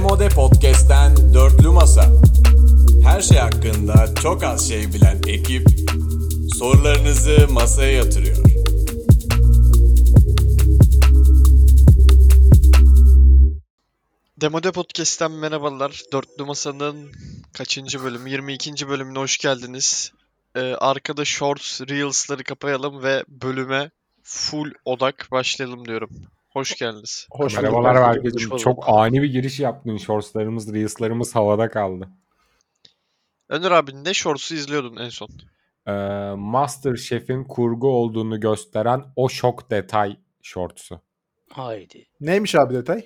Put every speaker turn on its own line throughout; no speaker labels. Komode Podcast'ten Dörtlü Masa. Her şey hakkında çok az şey bilen ekip sorularınızı masaya yatırıyor.
Demode Podcast'ten merhabalar. Dörtlü Masa'nın kaçıncı bölümü? 22. bölümüne hoş geldiniz. Ee, arkada Shorts, Reels'ları kapayalım ve bölüme full odak başlayalım diyorum. Hoş geldiniz.
Hoş
Merhabalar
bulduk.
herkese.
Hoş bulduk.
Çok ani bir giriş yaptın. Shortslarımız, Reels'larımız havada kaldı.
Öner abi ne Shorts'u izliyordun en son?
Ee, Master Chef'in kurgu olduğunu gösteren o şok detay shortsu.
Haydi. Neymiş abi detay?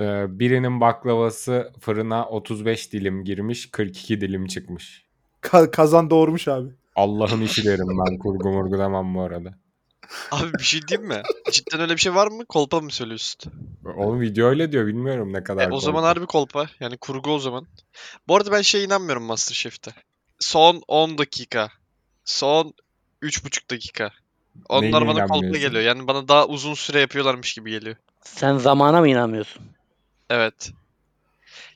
Ee, birinin baklavası fırına 35 dilim girmiş, 42 dilim çıkmış.
Ka- kazan doğurmuş abi.
Allah'ın işi derim ben kurgu murgu demem bu arada.
Abi bir şey diyeyim mi? Cidden öyle bir şey var mı? Kolpa mı söylüyorsun?
Onun video öyle diyor bilmiyorum ne kadar.
E, o zaman
korkunç.
harbi kolpa. Yani kurgu o zaman. Bu arada ben şeye inanmıyorum MasterChef'te. Son 10 dakika. Son 3,5 dakika. Onlar
Neyine
bana kolpa
inanmıyorsun?
geliyor. Yani bana daha uzun süre yapıyorlarmış gibi geliyor.
Sen zamana mı inanmıyorsun?
Evet.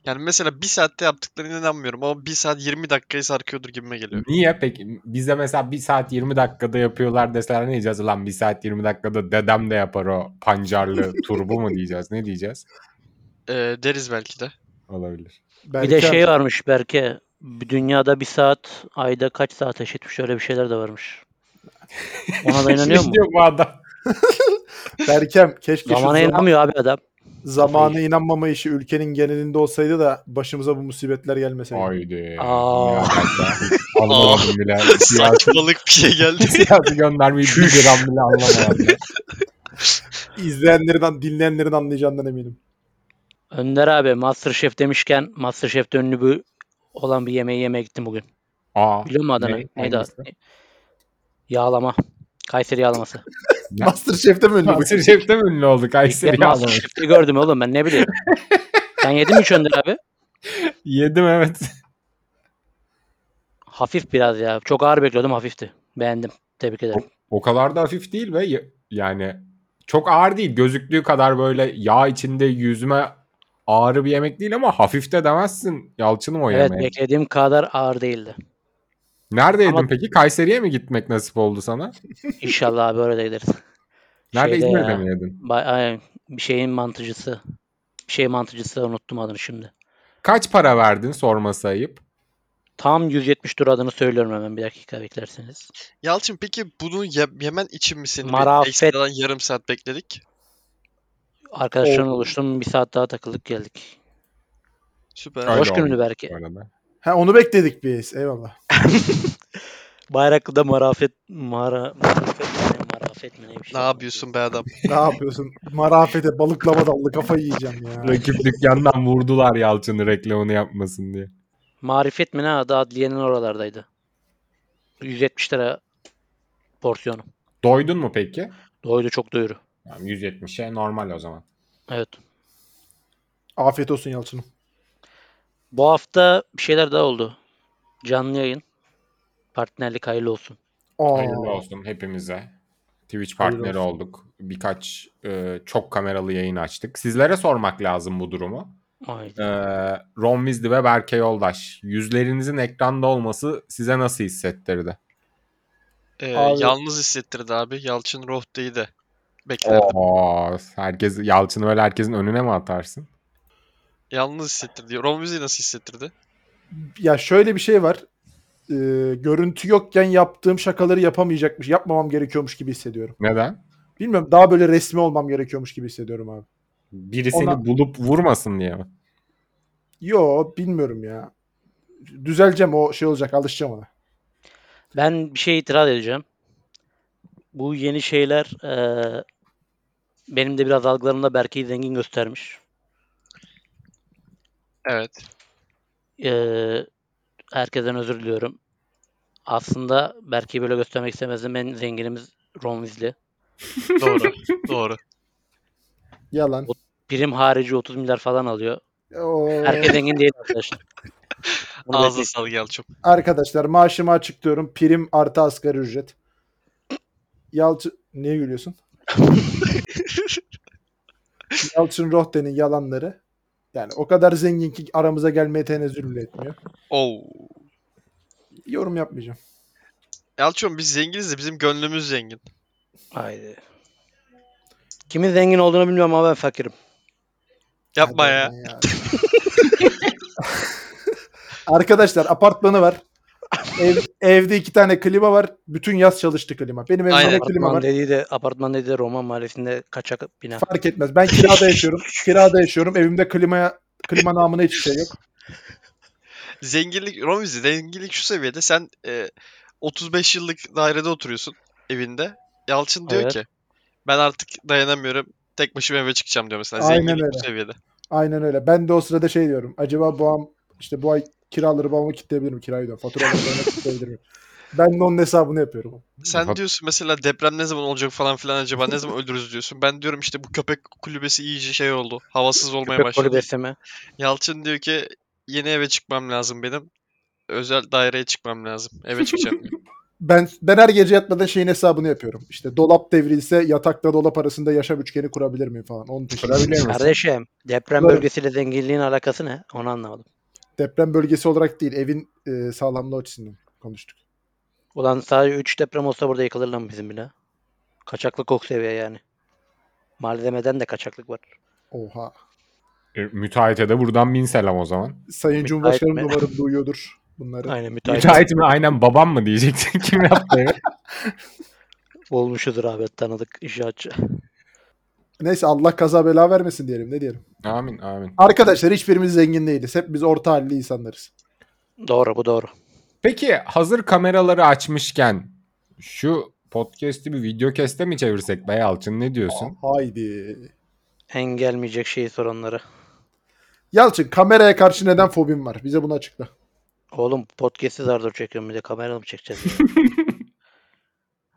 Yani mesela 1 saatte yaptıklarına inanmıyorum ama 1 saat 20 dakikayı sarkıyordur gibime geliyor.
Niye peki? Bize mesela 1 saat 20 dakikada yapıyorlar deseler ne diyeceğiz? Lan 1 saat 20 dakikada dedem de yapar o pancarlı turbu mu diyeceğiz? Ne diyeceğiz?
Ee, deriz belki de.
Olabilir.
Belki
bir de şey varmış Berke. Dünyada bir saat, ayda kaç saat eşitmiş öyle bir şeyler de varmış. Ona da inanıyor mu?
Diyor bu adam.
Berkem keşke şu
Zamana
zaman,
inanmıyor abi adam.
zamana inanmama işi ülkenin genelinde olsaydı da başımıza bu musibetler gelmeseydi.
Haydi.
Aa.
Ya ben Anlamadım bile. Siyasi,
Saçmalık bir şey geldi.
siyasi göndermeyi bir gram bile anlamadım.
İzleyenlerin, dinleyenlerin anlayacağından eminim.
Önder abi Masterchef demişken Masterchef'te ünlü bir olan bir yemeği yemeye gittim bugün.
Aa.
Biliyor musun Adana?
Ne?
Neydi? adı?
Hangisi?
Yağlama. Kayseri yağlaması.
Ya.
Masterchef'te mi ünlü bu?
Master Chef'te mi ünlü oldu? Kayseri
Ben
yağlamış.
Masterchef'te gördüm oğlum ben ne bileyim. Sen yedin mi hiç Önder abi?
Yedim evet.
Hafif biraz ya. Çok ağır bekliyordum hafifti. Beğendim. Tebrik ederim.
O kadar da hafif değil ve y- yani çok ağır değil. Gözüktüğü kadar böyle yağ içinde yüzme ağrı bir yemek değil ama hafif de demezsin Yalçın'ım o
Evet
yemeğe.
beklediğim kadar ağır değildi.
Nerede yedin
Ama-
peki? Kayseri'ye mi gitmek nasip oldu sana?
İnşallah abi öyle de gideriz.
Nerede
Şeyde
İzmir'de
ya.
mi yedin?
Ba- ay, bir şeyin mantıcısı. Bir şey mantıcısı unuttum adını şimdi.
Kaç para verdin sorması ayıp.
Tam 170 lira adını söylüyorum hemen bir dakika beklerseniz.
Yalçın peki bunu ye- yemen için mi seni
Marafet.
ekstradan yarım saat bekledik?
Arkadaşlarımla
Oo.
oluştum bir saat daha takılıp geldik.
Süper.
Öyle
Hoş gününü
olmuş
belki.
bu arada.
Ha, onu bekledik biz. Eyvallah.
Bayraklı'da marafet mara, marafet mi ne, marafet mi ne bir
Ne
şey.
yapıyorsun be adam?
Ne yapıyorsun? Marafete balıklama dallı kafayı yiyeceğim ya.
Rakip dükkandan vurdular Yalçın'ı reklamını yapmasın diye.
Marifet mi ne adı adliyenin oralardaydı. 170 lira porsiyonu.
Doydun mu peki?
Doydu çok doyuru.
Yani 170'e normal o zaman.
Evet.
Afiyet olsun Yalçın'ım.
Bu hafta bir şeyler daha oldu. Canlı yayın. Partnerlik hayırlı olsun.
Aa,
Hayırlı olsun hepimize. Twitch
Hayırlı
partneri
olsun.
olduk. Birkaç e, çok kameralı yayın açtık. Sizlere sormak lazım bu durumu.
Haydi.
E, Ron Weasley ve Berke Yoldaş. Yüzlerinizin ekranda olması size nasıl hissettirdi?
Ee,
Abi-
yalnız hissettirdi abi. Yalçın Rohde'yi de beklerdim.
Oo, herkes Yalçın'ı öyle herkesin önüne mi atarsın?
Yalnız hissettirdi. Ron Weasley nasıl hissettirdi?
Ya şöyle bir şey var. Ee, görüntü yokken yaptığım şakaları yapamayacakmış, yapmamam gerekiyormuş gibi hissediyorum.
Neden?
Bilmiyorum daha böyle resmi olmam gerekiyormuş gibi hissediyorum abi.
Biri seni
Ona-
bulup vurmasın diye mi?
Yo bilmiyorum ya. Düzeleceğim o şey olacak alışacağım ona.
Ben bir şey itiraz edeceğim. Bu yeni şeyler eee, benim de biraz algılarımda Berke'yi zengin göstermiş.
Evet.
Eee, E, herkesten özür diliyorum. Aslında Berke'yi böyle göstermek istemezdim. Ben zenginimiz Ron Weasley.
Doğru. Doğru.
Yalan.
Prim harici 30 milyar falan alıyor.
Oo,
Herkes zengin değil arkadaşlar. Bunu
Ağzına
belirtmek-
sağlık Yalçın.
arkadaşlar maaşımı açıklıyorum. Prim artı asgari ücret. Yalçın... Niye gülüyorsun? Yalçın Rohde'nin yalanları Yani o kadar zengin ki aramıza gelmeye tenezzül bile etmiyor.
Oo.
Yorum yapmayacağım.
Yalçın biz zenginiz de bizim gönlümüz zengin.
Haydi. Kimin zengin olduğunu bilmiyorum ama ben fakirim.
Yapma
Hadi
ya.
ama Arkadaşlar apartmanı var. Ev, evde iki tane klima var. Bütün yaz çalıştı klima. Benim evimde
Aynen.
de klima
Apartman
var.
dediği de apartman dediği de Roma mahallesinde kaçak bina.
Fark etmez. Ben kirada yaşıyorum. kirada yaşıyorum. Evimde klimaya klima namına hiçbir şey yok.
Zenginlik, Romizi zenginlik şu seviyede sen e, 35 yıllık dairede oturuyorsun evinde. Yalçın diyor
Evet.
ki ben artık dayanamıyorum. Tek başıma eve çıkacağım diyor mesela.
Aynen
Zenginlik bu
öyle.
seviyede.
Aynen öyle. Ben de o sırada şey diyorum. Acaba bu an işte bu ay kiraları babama kitleyebilir mi? Kirayı da faturalarını kitleyebilir mi? Ben de onun hesabını yapıyorum.
Sen
Hat-
diyorsun mesela deprem ne zaman olacak falan filan acaba ne zaman öldürürüz diyorsun. Ben diyorum işte bu köpek kulübesi iyice şey oldu. Havasız olmaya
Köpek
başladı.
golü besleme.
Yalçın diyor ki yeni eve çıkmam lazım benim. Özel daireye çıkmam lazım. Eve çıkacağım. diyor.
Ben ben her gece yatmadan şeyin hesabını yapıyorum. İşte dolap devrilse yatakla dolap arasında yaşam üçgeni kurabilir miyim falan. Onun peşinde.
Kurabilir miyim?
Kardeşim deprem
Böyle.
bölgesiyle zenginliğin alakası ne? Onu anlamadım.
Deprem bölgesi olarak değil, evin e, sağlamlığı açısından konuştuk.
Ulan sadece 3 deprem olsa burada yıkılır lan bizim bina. Kaçaklık o seviye yani. Malzemeden de kaçaklık var.
Oha.
E, müteahhite de buradan bin selam o zaman.
Sayın
Müteahhit
Cumhurbaşkanım
mi?
umarım duyuyordur bunları.
Aynen müteahhit.
Müteahhit mi? Aynen babam mı diyecektin. Kim yaptı evi?
Olmuşudur abi tanıdık inşaatçı.
Neyse Allah kaza bela vermesin diyelim ne diyelim.
amin amin.
Arkadaşlar hiçbirimiz zengin değiliz. Hep biz orta halli insanlarız.
Doğru bu doğru.
Peki hazır kameraları açmışken şu podcast'i bir video keste mi çevirsek be Yalçın ne diyorsun?
Haydi.
Engelmeyecek şeyi soranları.
Yalçın kameraya karşı neden fobin var? Bize bunu açıkla.
Oğlum podcast'i zar zor çekiyorum bir de kamerayla mı çekeceğiz? ya?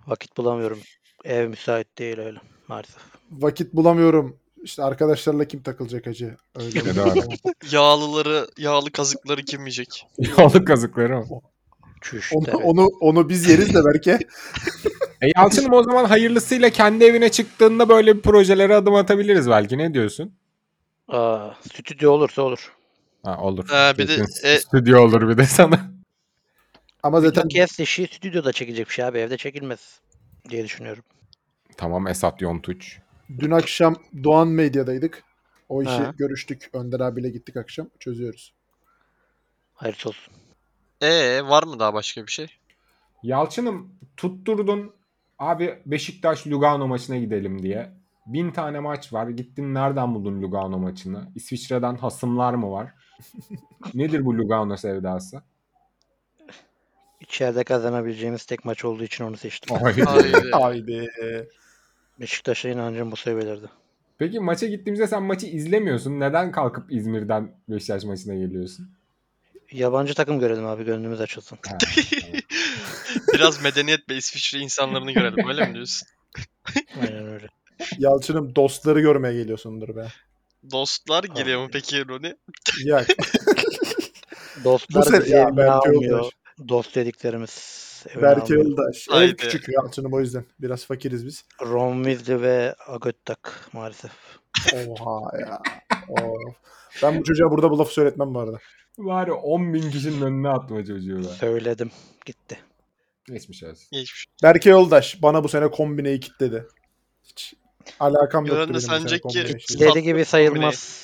Vakit bulamıyorum. Ev müsait değil öyle maalesef.
Vakit bulamıyorum. İşte arkadaşlarla kim takılacak acı? Öyle mi?
Ne doğru.
Yağlıları, yağlı kazıkları kim yiyecek?
Yoluk kazıkları mı?
Çüş.
onu,
evet.
onu, onu biz yeriz de belki.
E Yalçın'ım o zaman hayırlısıyla kendi evine çıktığında böyle bir projelere adım atabiliriz belki. Ne diyorsun?
Aa, stüdyo olursa olur.
Ha, olur.
Ha, bir de-
Kesin
e-
stüdyo olur bir de sana.
Ama zaten
Podcast işi stüdyoda çekilecek bir şey abi evde çekilmez diye düşünüyorum.
tamam Esat Yontuç.
dün akşam Doğan Medya'daydık. O işi
Ha.
görüştük. Önder abiyle gittik akşam. Çözüyoruz.
Hayırlısı olsun.
Ee var mı daha başka bir şey?
Yalçın'ım tutturdun abi Beşiktaş Lugano maçına gidelim diye. Bin tane maç var. Gittin nereden buldun Lugano maçını? İsviçre'den hasımlar mı var? Nedir bu Lugano sevdası?
İçeride kazanabileceğimiz tek maç olduğu için onu seçtim.
Hayır.
Haydi.
Beşiktaş'a inancım bu seviyelerde.
Peki maça gittiğimizde sen maçı izlemiyorsun. Neden kalkıp İzmir'den Beşiktaş maçına geliyorsun?
Yabancı takım görelim abi gönlümüz açılsın.
Ha,
Biraz medeniyet ve İsviçre insanlarını görelim öyle mi diyorsun?
Aynen öyle.
Yalçın'ım dostları görmeye geliyorsundur be.
Dostlar geliyor mu peki Roni?
Ya bu
Dostlar
sene
bizi
ya
evine
Berke
almıyor.
Yoldaş.
Dost dediklerimiz evine
Berke
almıyor.
Yoldaş. Ev
Haydi.
küçük Yalçın'ım o yüzden. Biraz fakiriz biz.
Ron Weasley ve Agöttak maalesef.
Oha ya. Of. Ben bu çocuğa burada bu lafı söyletmem bu arada.
Var ya 10 bin kişinin önüne atma çocuğu be.
Söyledim. Gitti.
Geçmiş olsun.
Geçmiş.
Berke Yoldaş bana bu sene kombineyi kitledi. Hiç alakam yoktu
Gören de
benim bu sene
sanacak ki-
kombine işiyle.
Dedi gibi sayılmaz.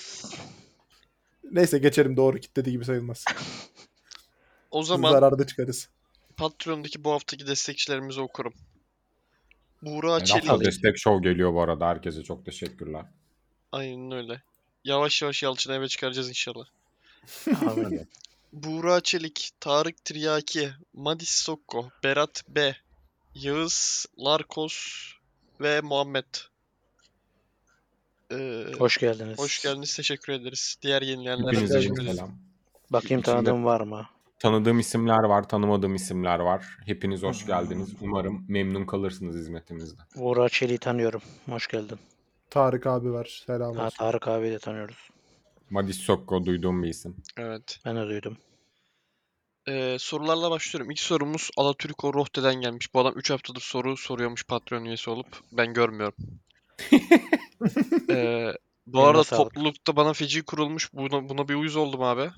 Neyse geçerim doğru kitledi gibi sayılmaz.
O zaman
Zararda çıkarız.
Patreon'daki bu haftaki destekçilerimizi okurum. Buğra
Yani
Çelik.
hafta destek show geliyor bu arada. Herkese çok teşekkürler.
Aynen öyle. Yavaş yavaş Yalçın'ı eve çıkaracağız inşallah.
Amin.
Buğra Çelik, Tarık Triyaki, Madis Sokko, Berat B, Yağız Larkos ve Muhammed. Ee,
Hoş geldiniz.
hoş geldiniz. Teşekkür ederiz. Diğer yenileyenlere
Hepinize
teşekkür
çok
ederiz.
selam.
Bakayım
İçinde-
tanıdığım var mı?
Tanıdığım isimler var, tanımadığım isimler var. Hepiniz hoş geldiniz. Umarım memnun kalırsınız hizmetimizden.
Buğra Çelik'i tanıyorum. Hoş geldin.
Tarık abi var. Selam
Ha,
olsun.
Tarık abi de tanıyoruz.
Madis Sokko duyduğum bir isim.
Evet.
Ben de duydum.
Ee, sorularla başlıyorum. İlk sorumuz Alatürko Rohte'den gelmiş. Bu adam 3 haftadır soru soruyormuş Patreon üyesi olup. Ben görmüyorum. Ee, Bu
Eline
arada
sağlık.
toplulukta bana feci kurulmuş. Buna, buna bir uyuz oldum abi.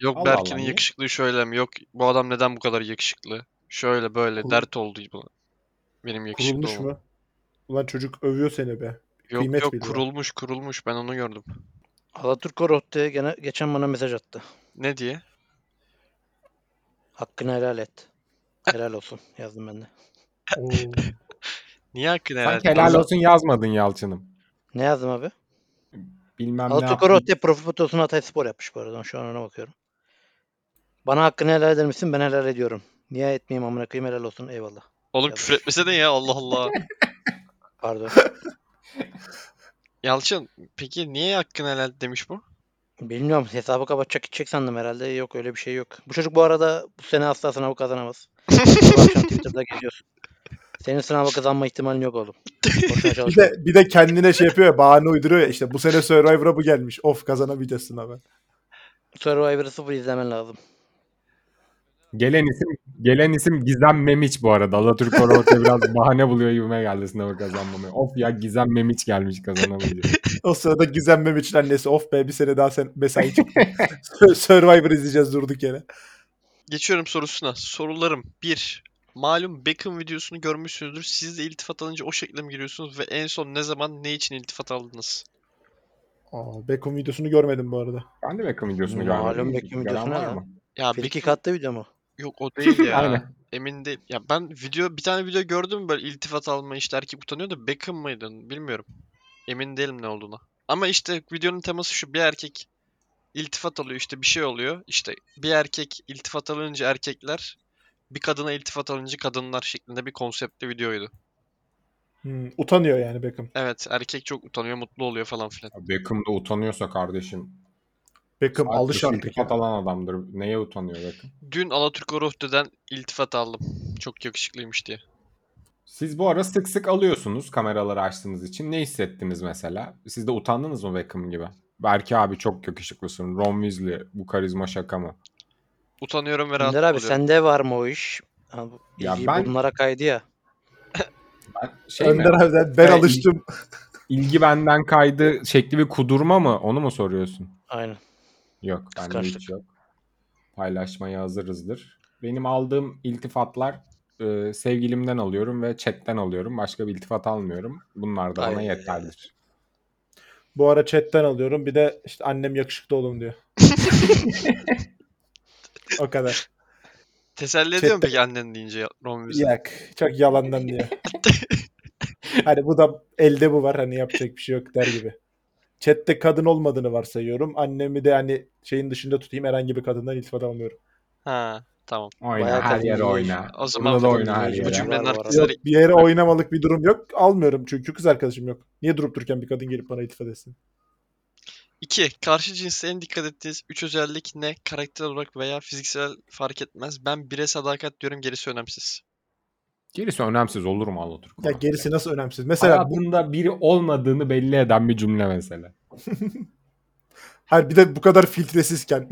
Yok
Allah
Berkin'in
Allah, niye?
yakışıklığı şöyle mi? Yok bu adam neden bu kadar yakışıklı? Şöyle böyle
Kurul-
dert oldu buna. Benim yakışıklı
Kurulmuş
olmam.
mu? Ulan çocuk övüyor seni be.
Yok
Kıymet
yok
biliyor.
kurulmuş kurulmuş ben onu gördüm.
Alaturk Korot'ta gene geçen bana mesaj attı.
Ne diye?
Hakkını helal et. Helal olsun yazdım ben de.
Oo.
Niye hakkını helal
Sanki
et?
helal
Azal-
olsun yazmadın Yalçın'ım.
Ne yazdım abi?
Bilmem ne
Alaturk
yaptın.
Korot'ta profil fotosunu Hatay Spor yapmış bu arada. Ben Şu an ona bakıyorum. Bana hakkını helal eder misin? Ben helal ediyorum. Niye etmeyeyim amına koyayım helal olsun eyvallah.
Oğlum küfür etmesene ya Allah Allah.
Pardon.
Yalçın peki niye hakkını helal et demiş bu?
Bilmiyorum hesabı kapatacak gidecek sandım herhalde. Yok öyle bir şey yok. Bu çocuk bu arada bu sene asla sınavı kazanamaz. Bu akşam Twitter'da geziyorsun. Senin sınavı kazanma ihtimalin yok oğlum. Boşuna
bir,
çalışma.
de, bir de kendine şey yapıyor ya bahane uyduruyor ya işte bu sene Survivor'a bu gelmiş. Of kazanamayacağız sınavı.
Survivor'ı sıfır izlemen lazım.
Gelen isim, gelen isim Gizem Memiç bu arada. Alaturk Orta biraz bahane buluyor gibime geldi sınavı kazanmamaya. Of ya Gizem Memiç gelmiş kazanamayacak.
O sırada gizlenmem için annesi of be bir sene daha sen mesai çıktı. Sur- Survivor izleyeceğiz durduk yere.
Geçiyorum sorusuna. Sorularım 1. Malum Beckham videosunu görmüşsünüzdür. Siz de iltifat alınca o şekilde mi giriyorsunuz? Ve en son ne zaman ne için iltifat aldınız?
Aa, Beckham videosunu görmedim bu arada.
Ben de Beckham videosunu
Malum
görmedim. Gören
Beckham videosu
var
ne lan?
mı?
Ya
Frikik
Beckham-
attı video mu?
Yok o değil ya.
Aynen.
Emin değil. Ya ben video bir tane video gördüm böyle iltifat alma işte erkek utanıyor da Beckham mıydı bilmiyorum. Emin değilim ne olduğuna. Ama işte videonun teması şu bir erkek iltifat alıyor işte bir şey oluyor. İşte bir erkek iltifat alınca erkekler bir kadına iltifat alınca kadınlar şeklinde bir konseptli videoydu.
Hmm, utanıyor yani Beckham.
Evet erkek çok utanıyor mutlu oluyor falan filan.
Beckham da utanıyorsa kardeşim.
Beckham alış
Alış
artık. ya.
iltifat alan adamdır. Neye utanıyor Beckham?
Dün Alaturk Orohde'den iltifat aldım. Çok yakışıklıymış diye.
Siz bu ara sık sık alıyorsunuz kameraları açtığınız için. Ne hissettiniz mesela? Siz de utandınız mı Beckham gibi? Berke abi çok yakışıklısın. Ron Weasley bu karizma şaka mı?
Utanıyorum ve rahatsız
Önder abi
oluyorum.
sende var mı o iş? Ha, bu
Ya
ilgiyi
ben-
bunlara kaydı ya.
Ben, şey mi?
Önder abiden ben
Şey-
alıştım.
İlgi benden kaydı şekli bir kudurma mı? Onu mu soruyorsun?
Aynen.
Yok bende
Kıskançlık.
hiç yok. Paylaşmaya hazırızdır. Benim aldığım iltifatlar e, sevgilimden alıyorum ve chatten alıyorum. Başka bir iltifat almıyorum. Bunlar da bana
Ay.
yeterlidir.
Bu ara chatten alıyorum. Bir de işte annem yakışıklı oğlum diyor. o kadar.
Teselli ediyor mu peki annen deyince Ron Weasley?
Yak. Çok yalandan diyor. hani bu da elde bu var. Hani yapacak bir şey yok der gibi. Chatte kadın olmadığını varsayıyorum. Annemi de hani şeyin dışında tutayım. Herhangi bir kadından iltifat almıyorum.
Ha tamam.
Oyna
Bayağı
her yere
kadın
oyna.
O zaman
Burada da
kadın
oyna
Bu
her
dinleyici
yere.
var
cümlenin
bu arada.
arkasında
Yok, bir yere oynamalık bir durum yok. Almıyorum çünkü kız arkadaşım yok. Niye durup dururken bir kadın gelip bana iltifat etsin?
2. Karşı cinse en dikkat ettiğiniz 3 özellik ne? Karakter olarak veya fiziksel fark etmez. Ben bire sadakat diyorum gerisi önemsiz.
Gerisi önemsiz olur mu Alaturk?
Ya gerisi nasıl önemsiz?
Mesela
Mesela bu,
Hayatında biri olmadığını belli eden bir cümle mesela.
hayır, bir de bu kadar filtresizken.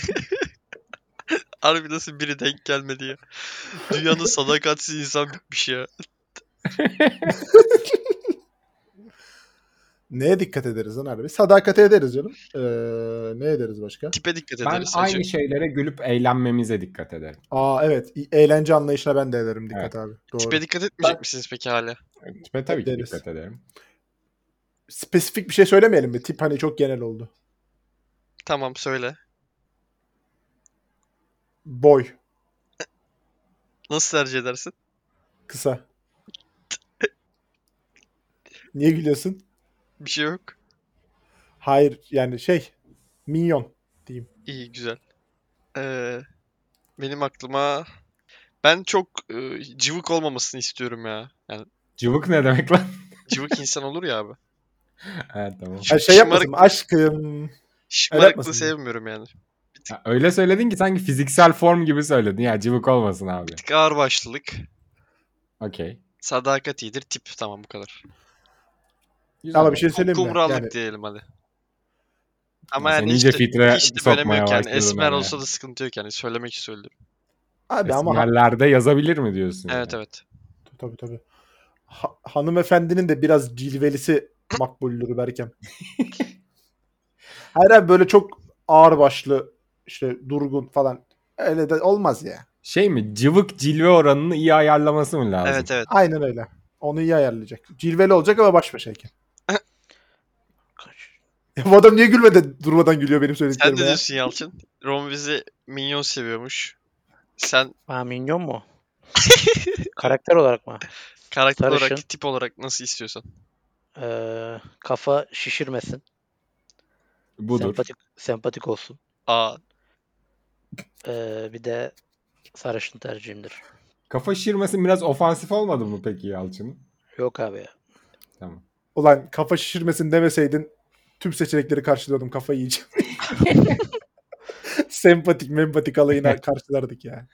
Harbi nasıl biri denk gelmedi ya. Dünyanın sadakatsiz insan bitmiş ya.
Neye dikkat ederiz lan abi? Sadakate ederiz canım. Ee, ne ederiz başka?
Tipe dikkat
Ben
ederiz. sadece.
aynı şey- şeylere gülüp eğlenmemize dikkat ederim.
Aa evet. Eğlence anlayışına ben de ederim dikkat
Evet.
abi. Doğru.
Tipe dikkat etmeyecek misiniz peki hala?
Ve tabii ki
Ederiz.
dikkat ederim.
Spesifik bir şey söylemeyelim mi? Tip hani çok genel oldu.
Tamam söyle.
Boy.
Nasıl tercih edersin?
Kısa. Niye gülüyorsun?
Bir şey yok.
Hayır yani şey. Minyon.
İyi güzel. Ee, benim aklıma ben çok e, cıvık olmamasını istiyorum ya. Yani
Cıvık ne demek lan?
cıvık insan olur ya abi.
evet tamam.
Her şey
Şımarık-
yapmasın. mı? Aşkım.
Şımarıklığı
yapmasın diye.
sevmiyorum yani.
Ya Öyle söyledin ki sanki fiziksel form gibi söyledin. Ya cıvık olmasın abi.
Tık ağırbaşlılık.
Okey.
Sadakat iyidir. Tip tamam bu kadar.
Güzel
Ama bir şey
oldu.
Kum,
söyleyeyim mi?
kumrallık
Yani
diyelim hadi. Ama
Sen
yani
iyice
işte,
filtre
hiç de
sokmaya
bölemiyor yani.
başladın
Esmer
ama.
olsa da sıkıntı yok yani. Söylemek için söyledim.
abi ama
Esmerlerde yazabilir mi diyorsun?
Evet
yani?
evet.
Tabii tabii. Ha- hanımefendinin de biraz cilvelisi Makbullürü Berkem. Hayır abi böyle çok ağır başlı işte durgun falan. Öyle de olmaz ya.
Şey mi? Cıvık cilve oranını iyi ayarlaması mı lazım?
Evet evet.
Aynen öyle. Onu iyi ayarlayacak. Cilveli olacak ama baş başayken.
Kaç.
Ya bu adam niye gülmedi? Durmadan gülüyor benim
Sen ne
söylediklerime. ya.
diyorsun Yalçın? Ron bizi minyon seviyormuş. Sen
Ha minyon mu? Karakter olarak mı?
karakter
Sarışın.
olarak, tip olarak nasıl istiyorsan.
Ee, kafa şişirmesin.
Budur.
Sempatik, sempatik olsun.
Aa,
Ee, bir de sarışın tercihimdir.
Kafa şişirmesi biraz ofansif olmadı mı peki Yalçın?
Yok abi ya.
Tamam.
Ulan kafa şişirmesin demeseydin tüm seçenekleri karşıladım kafayı yiyeceğim. Sempatik mempatik alayına karşılardık ya.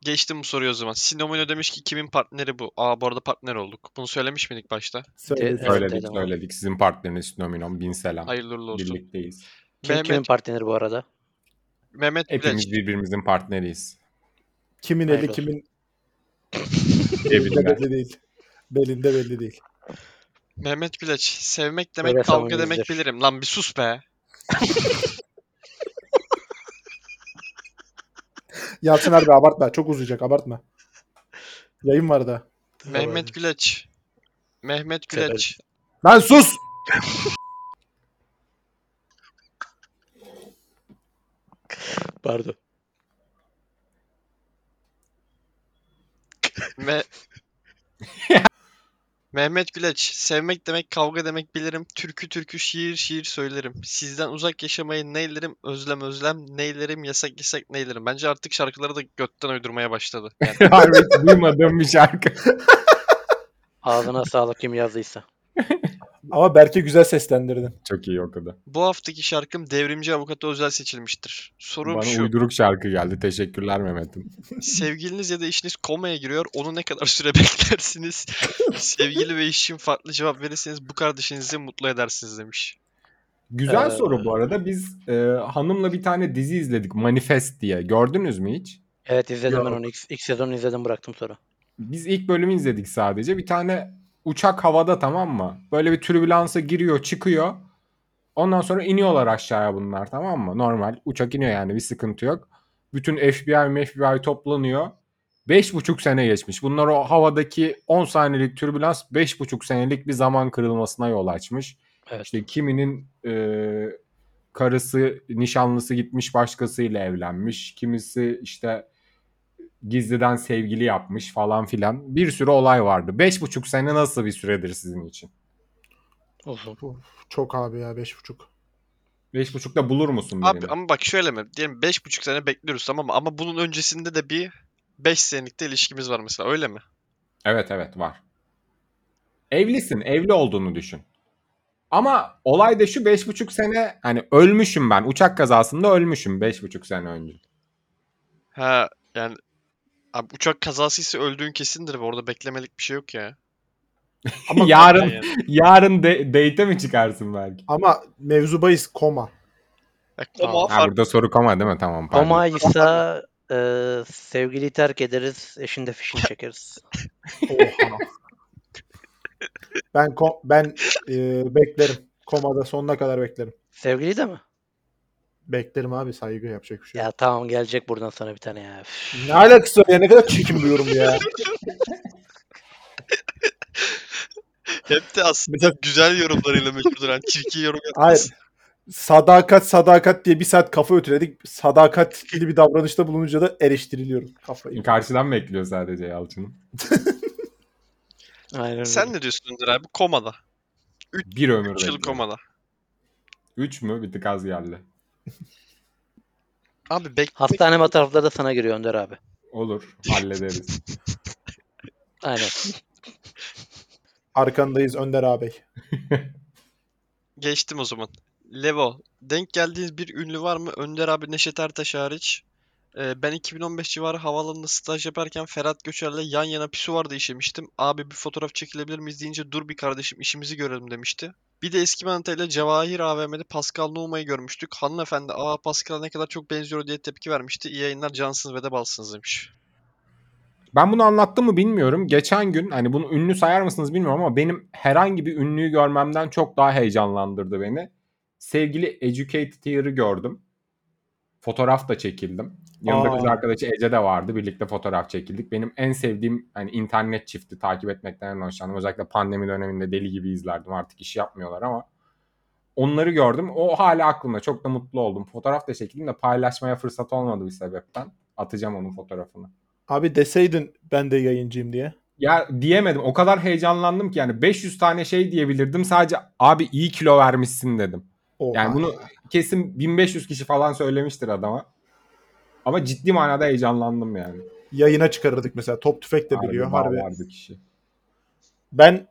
geçtim bu soruyu o zaman. Sinomino demiş ki kimin partneri bu? Aa bu arada partner olduk. Bunu söylemiş miydik başta?
Söyle.
Evet,
Söyledik
dedim abi.
söyledik. Sizin partneriniz Nominom. Bin selam.
Hayırlı uğurlu olsun.
Birlikteyiz.
Kim
Mehmet,
kimin partneri bu arada?
Mehmet
Hepimiz
Bileç.
birbirimizin partneriyiz.
Kimin
Hayırlı
eli
olsun.
kimin de
Cebinde.
belli değil. Belinde belli değil.
Mehmet Bileç. Sevmek demek
Böyle
kavga
samimi
demek
izler.
bilirim. Lan bir sus be.
Yalçın abi abartma. Çok uzayacak abartma. Yayın var da.
Mehmet Bileç. Mehmet
Severim.
Bileç.
Lan sus!
Pardon.
Me- Mehmet Güleç, sevmek demek kavga demek bilirim. Türkü türkü şiir şiir söylerim. Sizden uzak yaşamayı neylerim, özlem özlem neylerim, yasak yasak neylerim. Bence artık şarkıları da götten uydurmaya başladı. Yani
Harbi hiç duymadığım bir şarkı.
Ağzına sağlık kim yazdıysa.
Ama Berke güzel seslendirdin.
Çok iyi okudu.
bu haftaki şarkım Devrimci Avukat'a özel seçilmiştir. Sorum
Bana
şu,
uyduruk şarkı geldi. Teşekkürler Mehmet'im.
sevgiliniz ya da eşiniz komaya giriyor, onu ne kadar süre beklersiniz? Sevgili ve eşim farklı cevap verirseniz bu kardeşinizi mutlu edersiniz demiş.
Güzel
Ee,
soru bu arada. Biz e, hanımla bir tane dizi izledik. Manifest diye. Gördünüz mü hiç?
Evet izledim ben
Yok.
onu. İlk, ilk sezonu izledim bıraktım sonra.
Biz ilk bölümü izledik sadece. Bir tane uçak havada tamam mı? Böyle bir türbülansa giriyor çıkıyor. Ondan sonra iniyorlar aşağıya bunlar tamam mı? Normal uçak iniyor yani bir sıkıntı yok. Bütün FBI FBI toplanıyor. Beş buçuk sene geçmiş. Bunlar o havadaki 10 saniyelik türbülans beş buçuk senelik bir zaman kırılmasına yol açmış.
Evet.
İşte kiminin e, karısı, nişanlısı gitmiş başkasıyla evlenmiş. Kimisi işte gizliden sevgili yapmış falan filan. Bir sürü olay vardı. Beş buçuk sene nasıl bir süredir sizin için?
Uzun.
Çok abi ya beş buçuk.
Beş buçukta bulur musun birini?
Abi ama bak şöyle mi? Diyelim 5,5 sene bekliyoruz tamam mı? Ama bunun öncesinde de bir 5 senelik de ilişkimiz var mesela öyle mi?
Evet evet var. Evlisin, evli olduğunu düşün. Ama olay da şu beş buçuk sene hani ölmüşüm ben. Uçak kazasında ölmüşüm beş buçuk sene önce.
Ha yani abi uçak kazasıysa öldüğün kesindir ve orada beklemelik bir şey yok ya.
Ama
Yani
yarın
ya
yarın de, date'e mi çıkarsın belki?
Ama mevzubayız koma.
koma
Ha,
farklı.
burada soru koma değil mi? Tamam pardon.
Ama ise e, sevgiliyi terk ederiz. Eşinde fişini çekeriz.
Oha. ben ko- ben e, beklerim. Komada sonuna kadar beklerim.
Sevgili de mi?
Beklerim abi saygı yapacak bir şey. yok.
Ya tamam gelecek buradan sana bir tane ya. Üf.
Ne alakası var ya ne kadar çirkin bir yorum ya.
Hep de aslında güzel yorumlarıyla meşhurdur. Yani çirkin yorum
Hayır.
yapmaz.
Sadakat sadakat diye bir saat kafa ötüledik. Sadakatli bir davranışta bulununca da eleştiriliyorum. Kafayı.
Karşıdan bekliyor sadece Yalçın'ın.
Aynen öyle.
Sen ne diyorsun Önder abi? Komada.
Bir ömür
Üç yıl
bekliyor.
komada.
Üç mü? Bir tık az geldi.
Abi bek
Hastane masrafları da sana giriyor Önder abi.
Olur. Hallederiz.
Aynen.
Arkandayız Önder ağabey.
geçtim o zaman. Levo, denk geldiğiniz bir ünlü var mı? Önder abi Neşet Ertaş hariç. Ee, ben 2015 civarı havaalanında staj yaparken Ferhat Göçer'le yan yana pisuvarda işemiştim. Abi bir fotoğraf çekilebilir miyiz deyince dur bir kardeşim işimizi görelim demişti. Bir de eski manitayla Cevahir AVM'de Pascal Numa'yı görmüştük. Hanımefendi aa Pascal'a ne kadar çok benziyor diye tepki vermişti. İyi yayınlar cansınız ve de balsınız demiş.
Ben bunu anlattım mı bilmiyorum. Geçen gün hani bunu ünlü sayar mısınız bilmiyorum ama benim herhangi bir ünlüyü görmemden çok daha heyecanlandırdı beni. Sevgili Educated Year'ı gördüm. Fotoğraf da çekildim. Yanımda
Aa.
kız arkadaşı Ece de vardı. Birlikte fotoğraf çekildik. Benim en sevdiğim hani internet çifti takip etmekten en hoşlandım. Özellikle pandemi döneminde deli gibi izlerdim. Artık iş yapmıyorlar ama onları gördüm. O hala aklımda. Çok da mutlu oldum. Fotoğraf da çekildim de paylaşmaya fırsat olmadı bir sebepten. Atacağım onun fotoğrafını.
Abi deseydin ben de yayıncıyım diye.
Ya diyemedim. O kadar heyecanlandım ki yani 500 tane şey diyebilirdim. Sadece abi iyi kilo vermişsin dedim.
Oha.
Yani bunu kesin 1500 kişi falan söylemiştir adama. Ama ciddi manada heyecanlandım yani.
yayına çıkarırdık mesela. Top tüfek de biliyor harbi.
bağlardı kişi.
Ben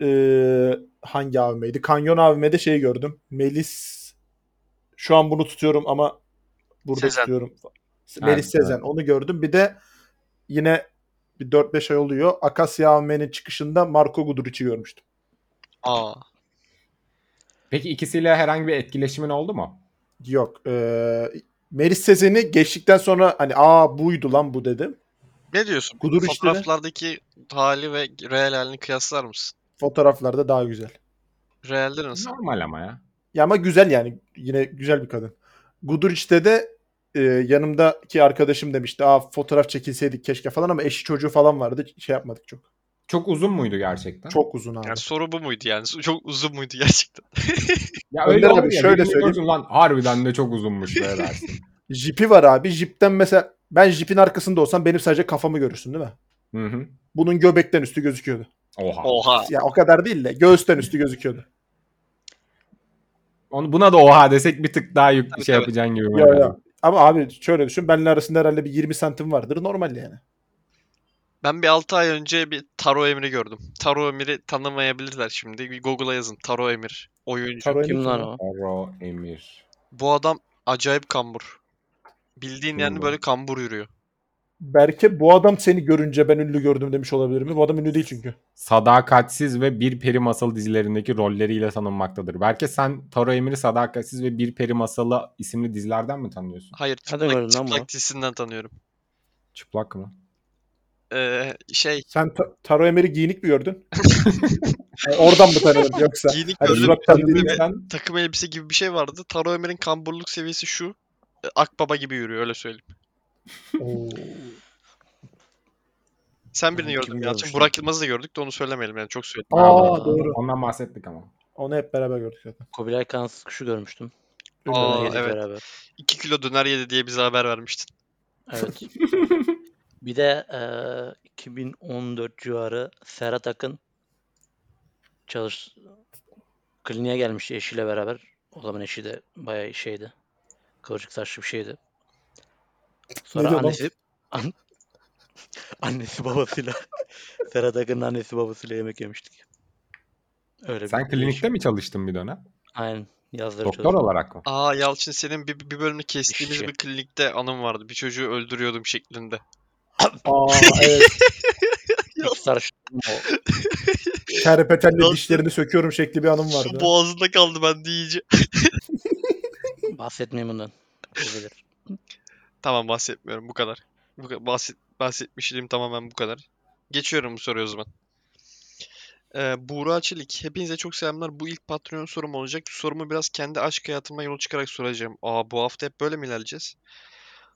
eee, hangi AVM'ydi? Kanyon AVM'de şey gördüm. Melis şu an bunu tutuyorum ama burada
Sezen.
tutuyorum.
Ha,
Melis Sezen.
evet.
Onu gördüm. Bir de yine bir 4-5 ay oluyor. Akasya AVM'nin çıkışında Marco Guduric'i görmüştüm.
Aa.
Peki ikisiyle herhangi bir etkileşimin oldu mu?
Yok. eee Melis Sezen'i geçtikten sonra hani aa buydu lan bu dedim.
Ne diyorsun?
Kudur işte de.
Fotoğraflardaki hali ve real halini kıyaslar mısın?
Fotoğraflarda daha güzel.
Realde nasıl?
Normal ama ya.
Ya ama güzel yani. Yine güzel bir kadın. Guduric'te de e, yanımdaki arkadaşım demişti. Aa fotoğraf çekilseydik keşke falan ama eşi çocuğu falan vardı. Şey yapmadık çok.
Çok uzun muydu gerçekten?
Çok uzun abi.
Yani soru bu muydu yani? Çok uzun muydu gerçekten?
Ya
Önder
öyle
abi
olur ya,
şöyle
bir bakıyorsun
söyleyeyim.
Lan harbiden de çok uzunmuş be dersin.
Jipi var abi. Jipten mesela ben jipin arkasında olsam benim sadece kafamı görürsün değil mi?
Hı hı.
Bunun göbekten üstü gözüküyordu.
Oha.
Oha.
Ya o kadar değil de göğüsten üstü gözüküyordu.
Onu buna da oha desek bir tık daha yük
Tabii,
şey
tabii.
yapacaksın gibi.
Ya, ya. Ama abi şöyle düşün. Benimle arasında herhalde bir 20 santim vardır. Normal yani.
Ben bir 6 ay önce bir Taro Emir'i gördüm. Taro Emir'i tanımayabilirler şimdi. Bir Google'a yazın Taro Emir. Oyuncu.
Taroya
Kim lan
bakıyorum.
o?
Oro Emir.
Bu adam acayip kambur. Bildiğin yani
Kim
böyle
bu?
kambur yürüyor.
Berke bu adam seni görünce ben ünlü gördüm demiş olabilir mi? Bu adam ünlü değil çünkü.
Sadakatsiz ve Bir Peri Masalı dizilerindeki rolleriyle tanınmaktadır. Belki sen Taro Emir'i Sadakatsiz ve Bir Peri Masalı isimli dizilerden mi tanıyorsun?
Hayır
Nereden
çıplak,
gördün lan bunu?
çıplak dizisinden tanıyorum.
Çıplak mı?
Ee, şey
Sen ta- Taro Emer'i giyinik mi gördün? Yani oradan mı tanıdın yoksa?
Giyinik
hani
gördüm.
surattan değil de-
Tanıdıysan
takım elbise gibi bir şey vardı. Taro Ömer'in kamburluk seviyesi şu. e, Akbaba gibi yürüyor öyle söyleyeyim.
Oo.
Sen birini
Kim
gördün ya.
görmüş lan?
Burak Yılmaz'ı da gördük de onu söylemeyelim yani çok söyledim.
Aa doğru.
ondan bahsettik ama.
Onu hep beraber gördük zaten.
Kubilay Kansız kuşu görmüştüm.
Aa,
Döner yedik
evet.
beraber.
2 kilo döner yedi diye bize haber vermiştin.
Evet. bir de e, eee, 2014 civarı Serhat Akın çalış kliniğe gelmişti eşiyle beraber. O zaman eşi de bayağı şeydi. Kıvırcık saçlı bir şeydi. Sonra
diyor lan?
annesi an- annesi babasıyla Serhat Akın'ın annesi babasıyla yemek yemiştik. Öyle
Sen
bir
klinikte
değişik-
mi çalıştın bir dönem?
Aynen. Yazları
Doktor
çalıştım.
olarak mı?
Aa Yalçın senin bir, bir bölümünü kestiğimiz
İşçi.
bir klinikte anım vardı. Bir çocuğu öldürüyordum şeklinde.
Aa evet.
İlk sarışınım o.
Şerpetenle
Nasıl?
dişlerini söküyorum şekli bir anım vardı.
Su boğazında kaldı ben de iyice.
Bahsetmeyeyim bundan. O bilir.
Tamam bahsetmiyorum bu kadar. Bu ka- bahset bahsetmişliğim tamamen bu kadar. Geçiyorum bu soruyu o zaman. Ee, Buğra Çelik. Hepinize çok selamlar. Bu ilk Patreon sorum olacak. Sorumu biraz kendi aşk hayatıma yol çıkarak soracağım. Aa bu hafta hep böyle mi ilerleyeceğiz?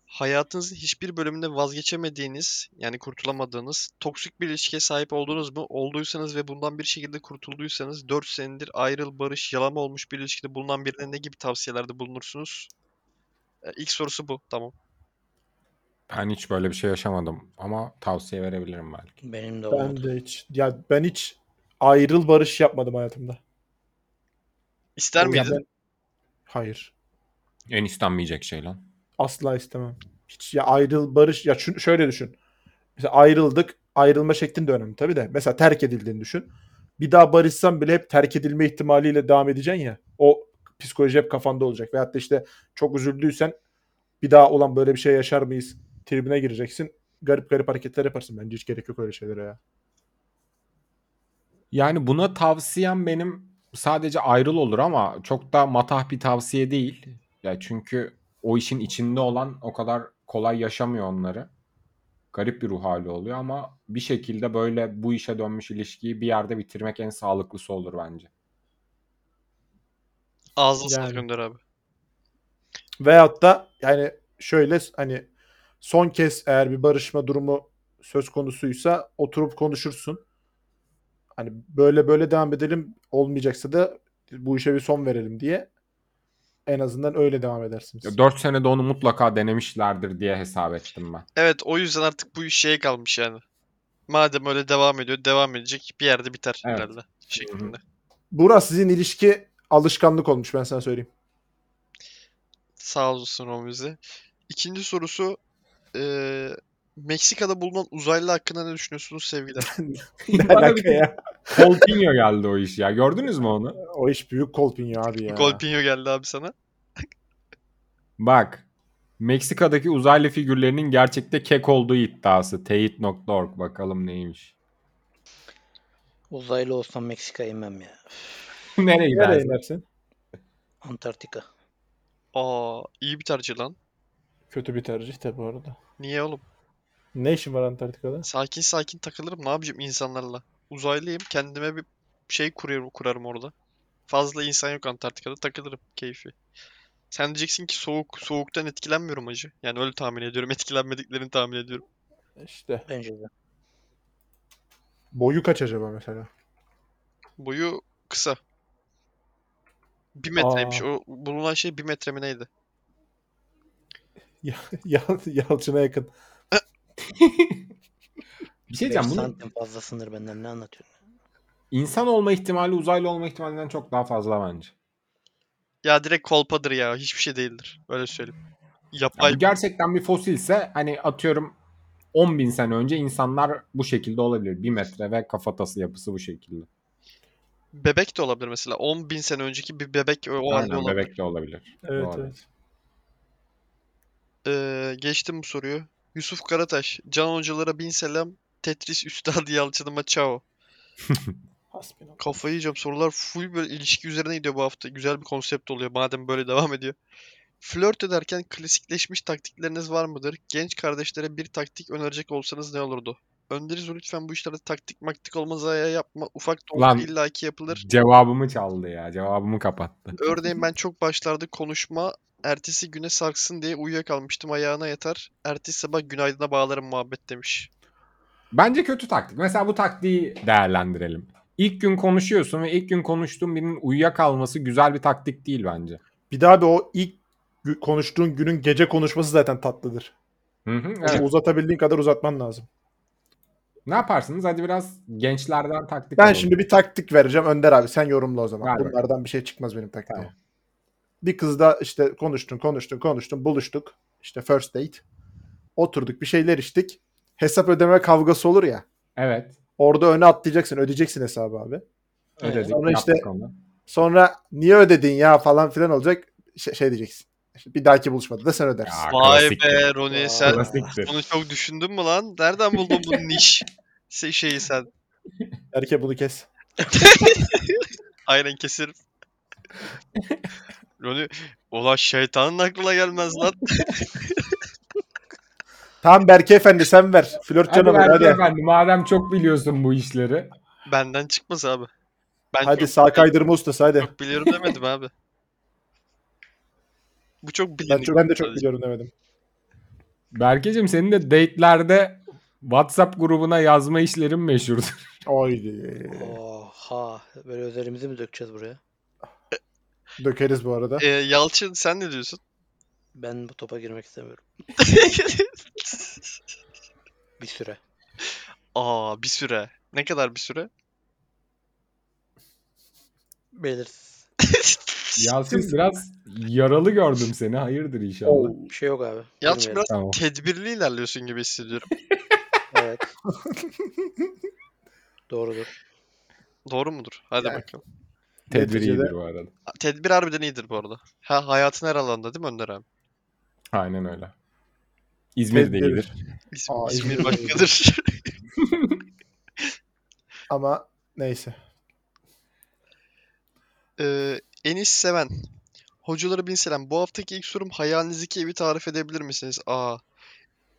Hayatınızın hiçbir bölümünde vazgeçemediğiniz, yani kurtulamadığınız, toksik bir ilişkiye sahip oldunuz mu? Olduysanız ve bundan bir şekilde kurtulduysanız 4 senedir ayrıl, barış, yalama olmuş bir ilişkide bulunan birine ne gibi tavsiyelerde bulunursunuz? Ee, ilk sorusu bu. Tamam.
Ben hiç böyle bir şey yaşamadım ama tavsiye verebilirim belki.
Benim de olmadı.
Ben de hiç. Ya ben hiç ayrıl barış yapmadım hayatımda.
İster
O
miydin?
yüzden- Hayır.
En istenmeyecek şey lan.
Asla istemem. Hiç ya ayrıl barış ya şu- şöyle düşün. Mesela ayrıldık. Ayrılma şeklin de önemli tabii de. Mesela terk edildiğini düşün. Bir daha barışsan bile hep terk edilme ihtimaliyle devam edeceksin ya. O psikoloji hep kafanda olacak. Veyahut da işte çok üzüldüysen bir daha olan böyle bir şey yaşar mıyız tribine gireceksin. Garip garip hareketler yaparsın bence. Hiç gerek yok öyle şeylere ya.
Yani buna tavsiyem benim sadece ayrıl olur ama çok da matah bir tavsiye değil. Ya çünkü o işin içinde olan o kadar kolay yaşamıyor onları. garip bir ruh hali oluyor ama bir şekilde böyle bu işe dönmüş ilişkiyi bir yerde bitirmek en sağlıklısı olur bence.
Ağzını sana
Yani.
gönder abi.
Veyahut da yani şöyle hani son kez eğer bir barışma durumu söz konusuysa oturup konuşursun. Hani böyle böyle devam edelim olmayacaksa da bu işe bir son verelim diye en azından öyle devam edersiniz.
4 senede onu mutlaka denemişlerdir diye hesap ettim ben.
Evet o yüzden artık bu iş şeye kalmış yani. Madem öyle devam ediyor devam edecek bir yerde biter
Evet.
herhalde şeklinde.
Burak sizin ilişki alışkanlık olmuş ben sana söyleyeyim.
Sağ olsun Romize. İkinci sorusu eee, Meksika'da bulunan uzaylı hakkında ne düşünüyorsunuz sevgiler?
Ne
Bana bir
alaka ya?
Coutinho geldi o iş ya. Gördünüz mü onu?
O iş büyük kolpinyo abi ya.
Golpinho geldi abi sana.
Bak. Meksika'daki uzaylı figürlerinin gerçekte kek olduğu iddiası. Teyit.org bakalım neymiş.
Uzaylı olsam Meksika'ya inmem ya.
Nereye
Nereye
gidersin?
inersin?
Antarktika.
Aa iyi bir tercih lan.
Kötü bir tercih de bu arada.
Niye oğlum?
Ne işin var Antarktika'da?
Sakin sakin takılırım. Ne yapacağım insanlarla? Uzaylıyım. Kendime bir şey kurarım, kurarım orada. Fazla insan yok Antarktika'da. Takılırım. Keyfi. Sen diyeceksin ki soğuk. Soğuktan etkilenmiyorum hacı. Yani öyle tahmin ediyorum. Etkilenmediklerini tahmin ediyorum.
İşte.
Bence de.
Boyu kaç acaba mesela?
Boyu kısa. Bir metreymiş.
Aa.
O bulunan şey bir metre mi neydi?
Yal- Yalçın'a yakın.
Bir şey
5
diyeceğim. Bunun
santim fazlasındır benden ne anlatıyorsun?
insan olma ihtimali uzaylı olma ihtimalinden çok daha fazla bence.
Ya direkt kolpadır ya. Hiçbir şey değildir. Öyle söyleyeyim.
Ya
Yapay
bu gerçekten bir fosilse hani atıyorum 10 bin sene önce insanlar bu şekilde olabilir. Bir metre ve kafatası yapısı bu şekilde.
bebek de olabilir mesela. 10 bin sene önceki bir bebek o halde
Aynen
olabilir.
bebek de olabilir.
Evet
Doğru.
evet.
Ee, geçtim bu soruyu. Yusuf Karataş. Can hocalara bin selam. Tetris üstadı Yalçın'ıma çao.
Hasbinallah.
Kafayı yiyeceğim. Sorular full böyle ilişki üzerine gidiyor bu hafta. Güzel bir konsept oluyor madem böyle devam ediyor. Flört ederken klasikleşmiş taktikleriniz var mıdır? Genç kardeşlere bir taktik önerecek olsanız ne olurdu? Öneriniz o lütfen bu işlerde taktik maktik olmaz ya yapma. Ufak da olsa
Lan.
illaki yapılır.
Cevabımı çaldı ya. Cevabımı kapattı.
Örneğin ben çok başlarda konuşma ertesi güne sarksın diye uyuyakalmıştım ayağına yatar. Ertesi sabah günaydına bağlarım muhabbet demiş.
Bence kötü taktik. Mesela bu taktiği değerlendirelim. İlk gün konuşuyorsun ve ilk gün konuştuğun birinin uyuyakalması güzel bir taktik değil bence.
Bir daha bir o ilk gü- konuştuğun günün gece konuşması zaten tatlıdır.
Hı hı,
Onu
evet.
Uzatabildiğin kadar uzatman lazım.
Ne yaparsınız? Hadi biraz gençlerden taktik
Ben
alalım.
şimdi bir taktik vereceğim. Önder abi sen yorumla o zaman.
Ver bakalım.
Bunlardan bir şey çıkmaz benim taktiğim.
Tamam.
Bir kızla işte konuştun konuştun konuştun buluştuk. İşte first date. Oturduk bir şeyler içtik. Hesap ödeme kavgası olur ya.
Evet.
Orada öne atlayacaksın ödeyeceksin hesabı abi.
Ödedik.
Sonra işte-
yaptık onu.
Sonra niye ödedin ya falan filan olacak şey, şey diyeceksin. İşte bir dahaki buluşmada da sen ödersin.
Ya,
Vay
klasiktir.
be Roni sen
Klasiktir.
bunu çok düşündün mü lan? Nereden buldun bu niş se- şeyi sen?
Erke bunu kes.
Aynen kesir. Roni ulan şeytanın aklına gelmez lan.
Tamam Berke Efendi sen ver. Flört
Hadi
canavarı
Berke
hadi.
efendi madem çok biliyorsun bu işleri.
Benden çıkmaz abi. Ben
Hadi
çok,
sağ kaydırma ustası hadi.
çok biliyorum demedim abi. Bu çok
Ben,
bilindik.
çok, ben de çok
sadece.
biliyorum demedim.
Berkeciğim senin de date'lerde WhatsApp grubuna yazma işlerin meşhurdur.
Oydi.
Ee.
Oha. Böyle özelimizi mi dökeceğiz buraya?
Dökeriz bu arada.
Ee, Yalçın sen ne diyorsun?
Ben bu topa girmek istemiyorum. Bir süre.
Aa bir süre. Ne kadar bir süre?
Belirsiz.
Yasin biraz yaralı gördüm seni. Hayırdır inşallah.
Oo.
Bir şey yok abi.
Yalçın
Girmeyelim.
biraz
Tamam.
tedbirli ilerliyorsun gibi hissediyorum.
Evet. Doğrudur.
Doğru mudur? Hadi
Yani.
bakalım.
Tedbiri
Neticede-
iyidir bu arada.
Tedbir harbiden iyidir bu arada. Ha, hayatın her alanında değil mi Önder abi?
Aynen öyle. İzmir de
Tedbir.
iyidir.
İzmir,
Aa,
İzmir
İzmir.
başkadır.
Ama neyse.
Ee, Enis Seven. Hocalara bin selam. Bu haftaki ilk sorum hayalinizdeki evi tarif edebilir misiniz? Aa.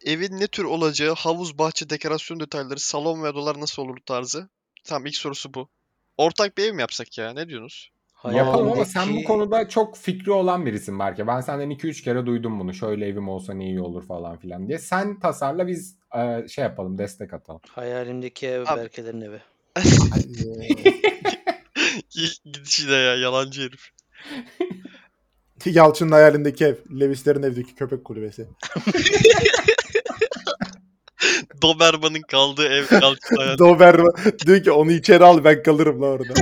Evin ne tür olacağı, havuz, bahçe, dekorasyon detayları, salon ve odalar nasıl olur tarzı. Tamam ilk sorusu bu. Ortak bir ev mi yapsak ya? Ne diyorsunuz?
Yapalım ama
Hayalindeki-
sen bu konuda çok fikri olan birisin belki. Ben senden 2-3 kere duydum bunu. Şöyle evim olsa ne iyi olur falan filan diye. Sen tasarla biz e, şey yapalım destek atalım.
Hayalimdeki ev
Abi-
Berke'lerin evi.
Gidişi de ya yalancı herif.
Yalçın'ın hayalindeki ev. Levis'lerin evdeki köpek kulübesi.
Doberman'ın kaldığı ev kalçı hayal.
Doberman diyor ki onu içeri al ben kalırım la orada.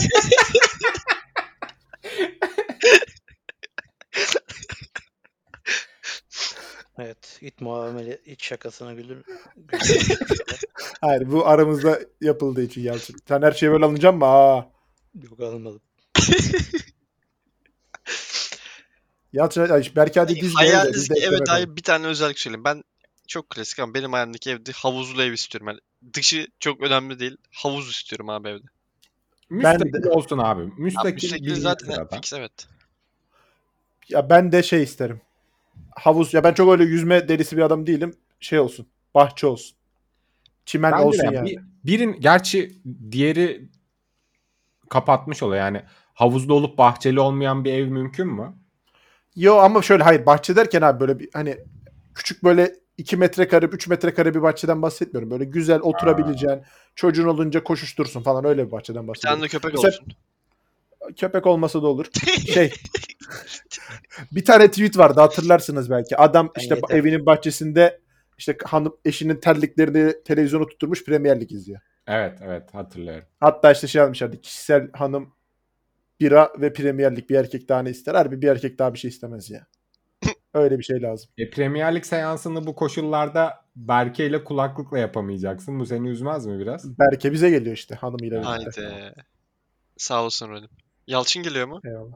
Evet. İt muamele iç şakasına gülür.
Hayır bu aramızda yapıldığı için Yalçın. Sen her şeye böyle alınacak mı? Aa.
Yok alınmadım.
Yalçın ay, Berke hadi diz böyle de, biz
Hayalindeki
de ekleme
evet
yapalım.
hayır bir tane özellik söyleyeyim. Ben çok klasik ama benim hayalimdeki evde havuzlu ev istiyorum. Yani dışı çok önemli değil. Havuz istiyorum abi evde.
Ben de-
Müstakil olsun abi.
Abi,
Müstakil,
müstakil
birinci
zaten
sırada.
fix evet.
Ya ben de şey isterim. Havuz. Ya ben çok öyle yüzme delisi bir adam değilim. Şey olsun. Bahçe olsun. Çimen
Bence de
olsun
yani.
yani.
Bir- birin gerçi diğeri kapatmış oluyor. Yani havuzlu olup bahçeli olmayan bir ev mümkün mü?
Yo ama şöyle hayır bahçe derken abi böyle bir hani küçük böyle 2 metrekare 3 metrekare bir bahçeden bahsetmiyorum. Böyle güzel oturabileceğin çocuğun olunca koşuştursun falan öyle bir bahçeden
Bir tane
bahsediyorum.
de köpek
Mesela-
olsun.
Köpek olmasa da olur. Şey bir tane tweet vardı hatırlarsınız belki. Adam
Ben
işte
yeter.
evinin bahçesinde işte hanım eşinin terliklerini televizyonu tutturmuş Premier Lig izliyor.
Evet evet hatırlıyorum.
Hatta işte şey almışlardı kişisel hanım bira ve Premier Lig bir erkek daha ne ister? Harbi bir erkek daha bir şey istemez ya. Öyle bir şey lazım.
E, Premier Lig seansını bu koşullarda Berke ile kulaklıkla yapamayacaksın. Bu seni üzmez mi biraz?
Berke bize geliyor işte hanımıyla birlikte.
Haydi. Sağ olsun Rolüm. Yalçın geliyor mu?
Eyvallah.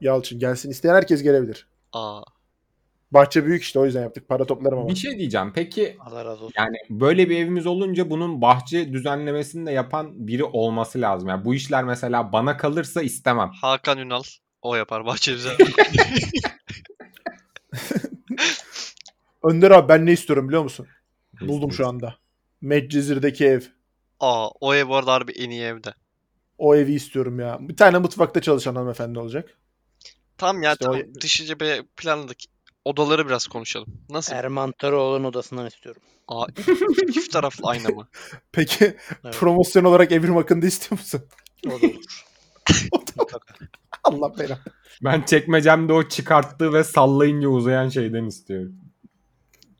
Yalçın gelsin. isteyen herkes gelebilir.
Aa.
Bahçe büyük işte o yüzden yaptık. Para toplarım ama.
Bir şey diyeceğim. Peki
Allah razı olsun.
Yani böyle bir evimiz olunca bunun bahçe düzenlemesini de yapan biri olması lazım. Yani bu işler mesela bana kalırsa istemem.
Hakan Ünal. O yapar bahçe güzel.
Önder abi ben ne istiyorum biliyor musun? Buldum şu anda. Medcezir'deki ev.
Aa o ev bu arada harbi en iyi evde.
O evi istiyorum ya. Bir tane mutfakta çalışan hanımefendi olacak.
Tam ya
İşte
tam
o-
dışı cebe planladık. Odaları biraz konuşalım. Nasıl?
Erman Toroğlu'nun odasından istiyorum.
Aa, çift taraflı ayna mı?
Peki promosyon olarak Evrim Akın'da istiyor musun?
O da olur. Mutlaka.
Allah belanı.
Ben çekmecemde o çıkarttığı ve sallayınca uzayan şeyden istiyorum.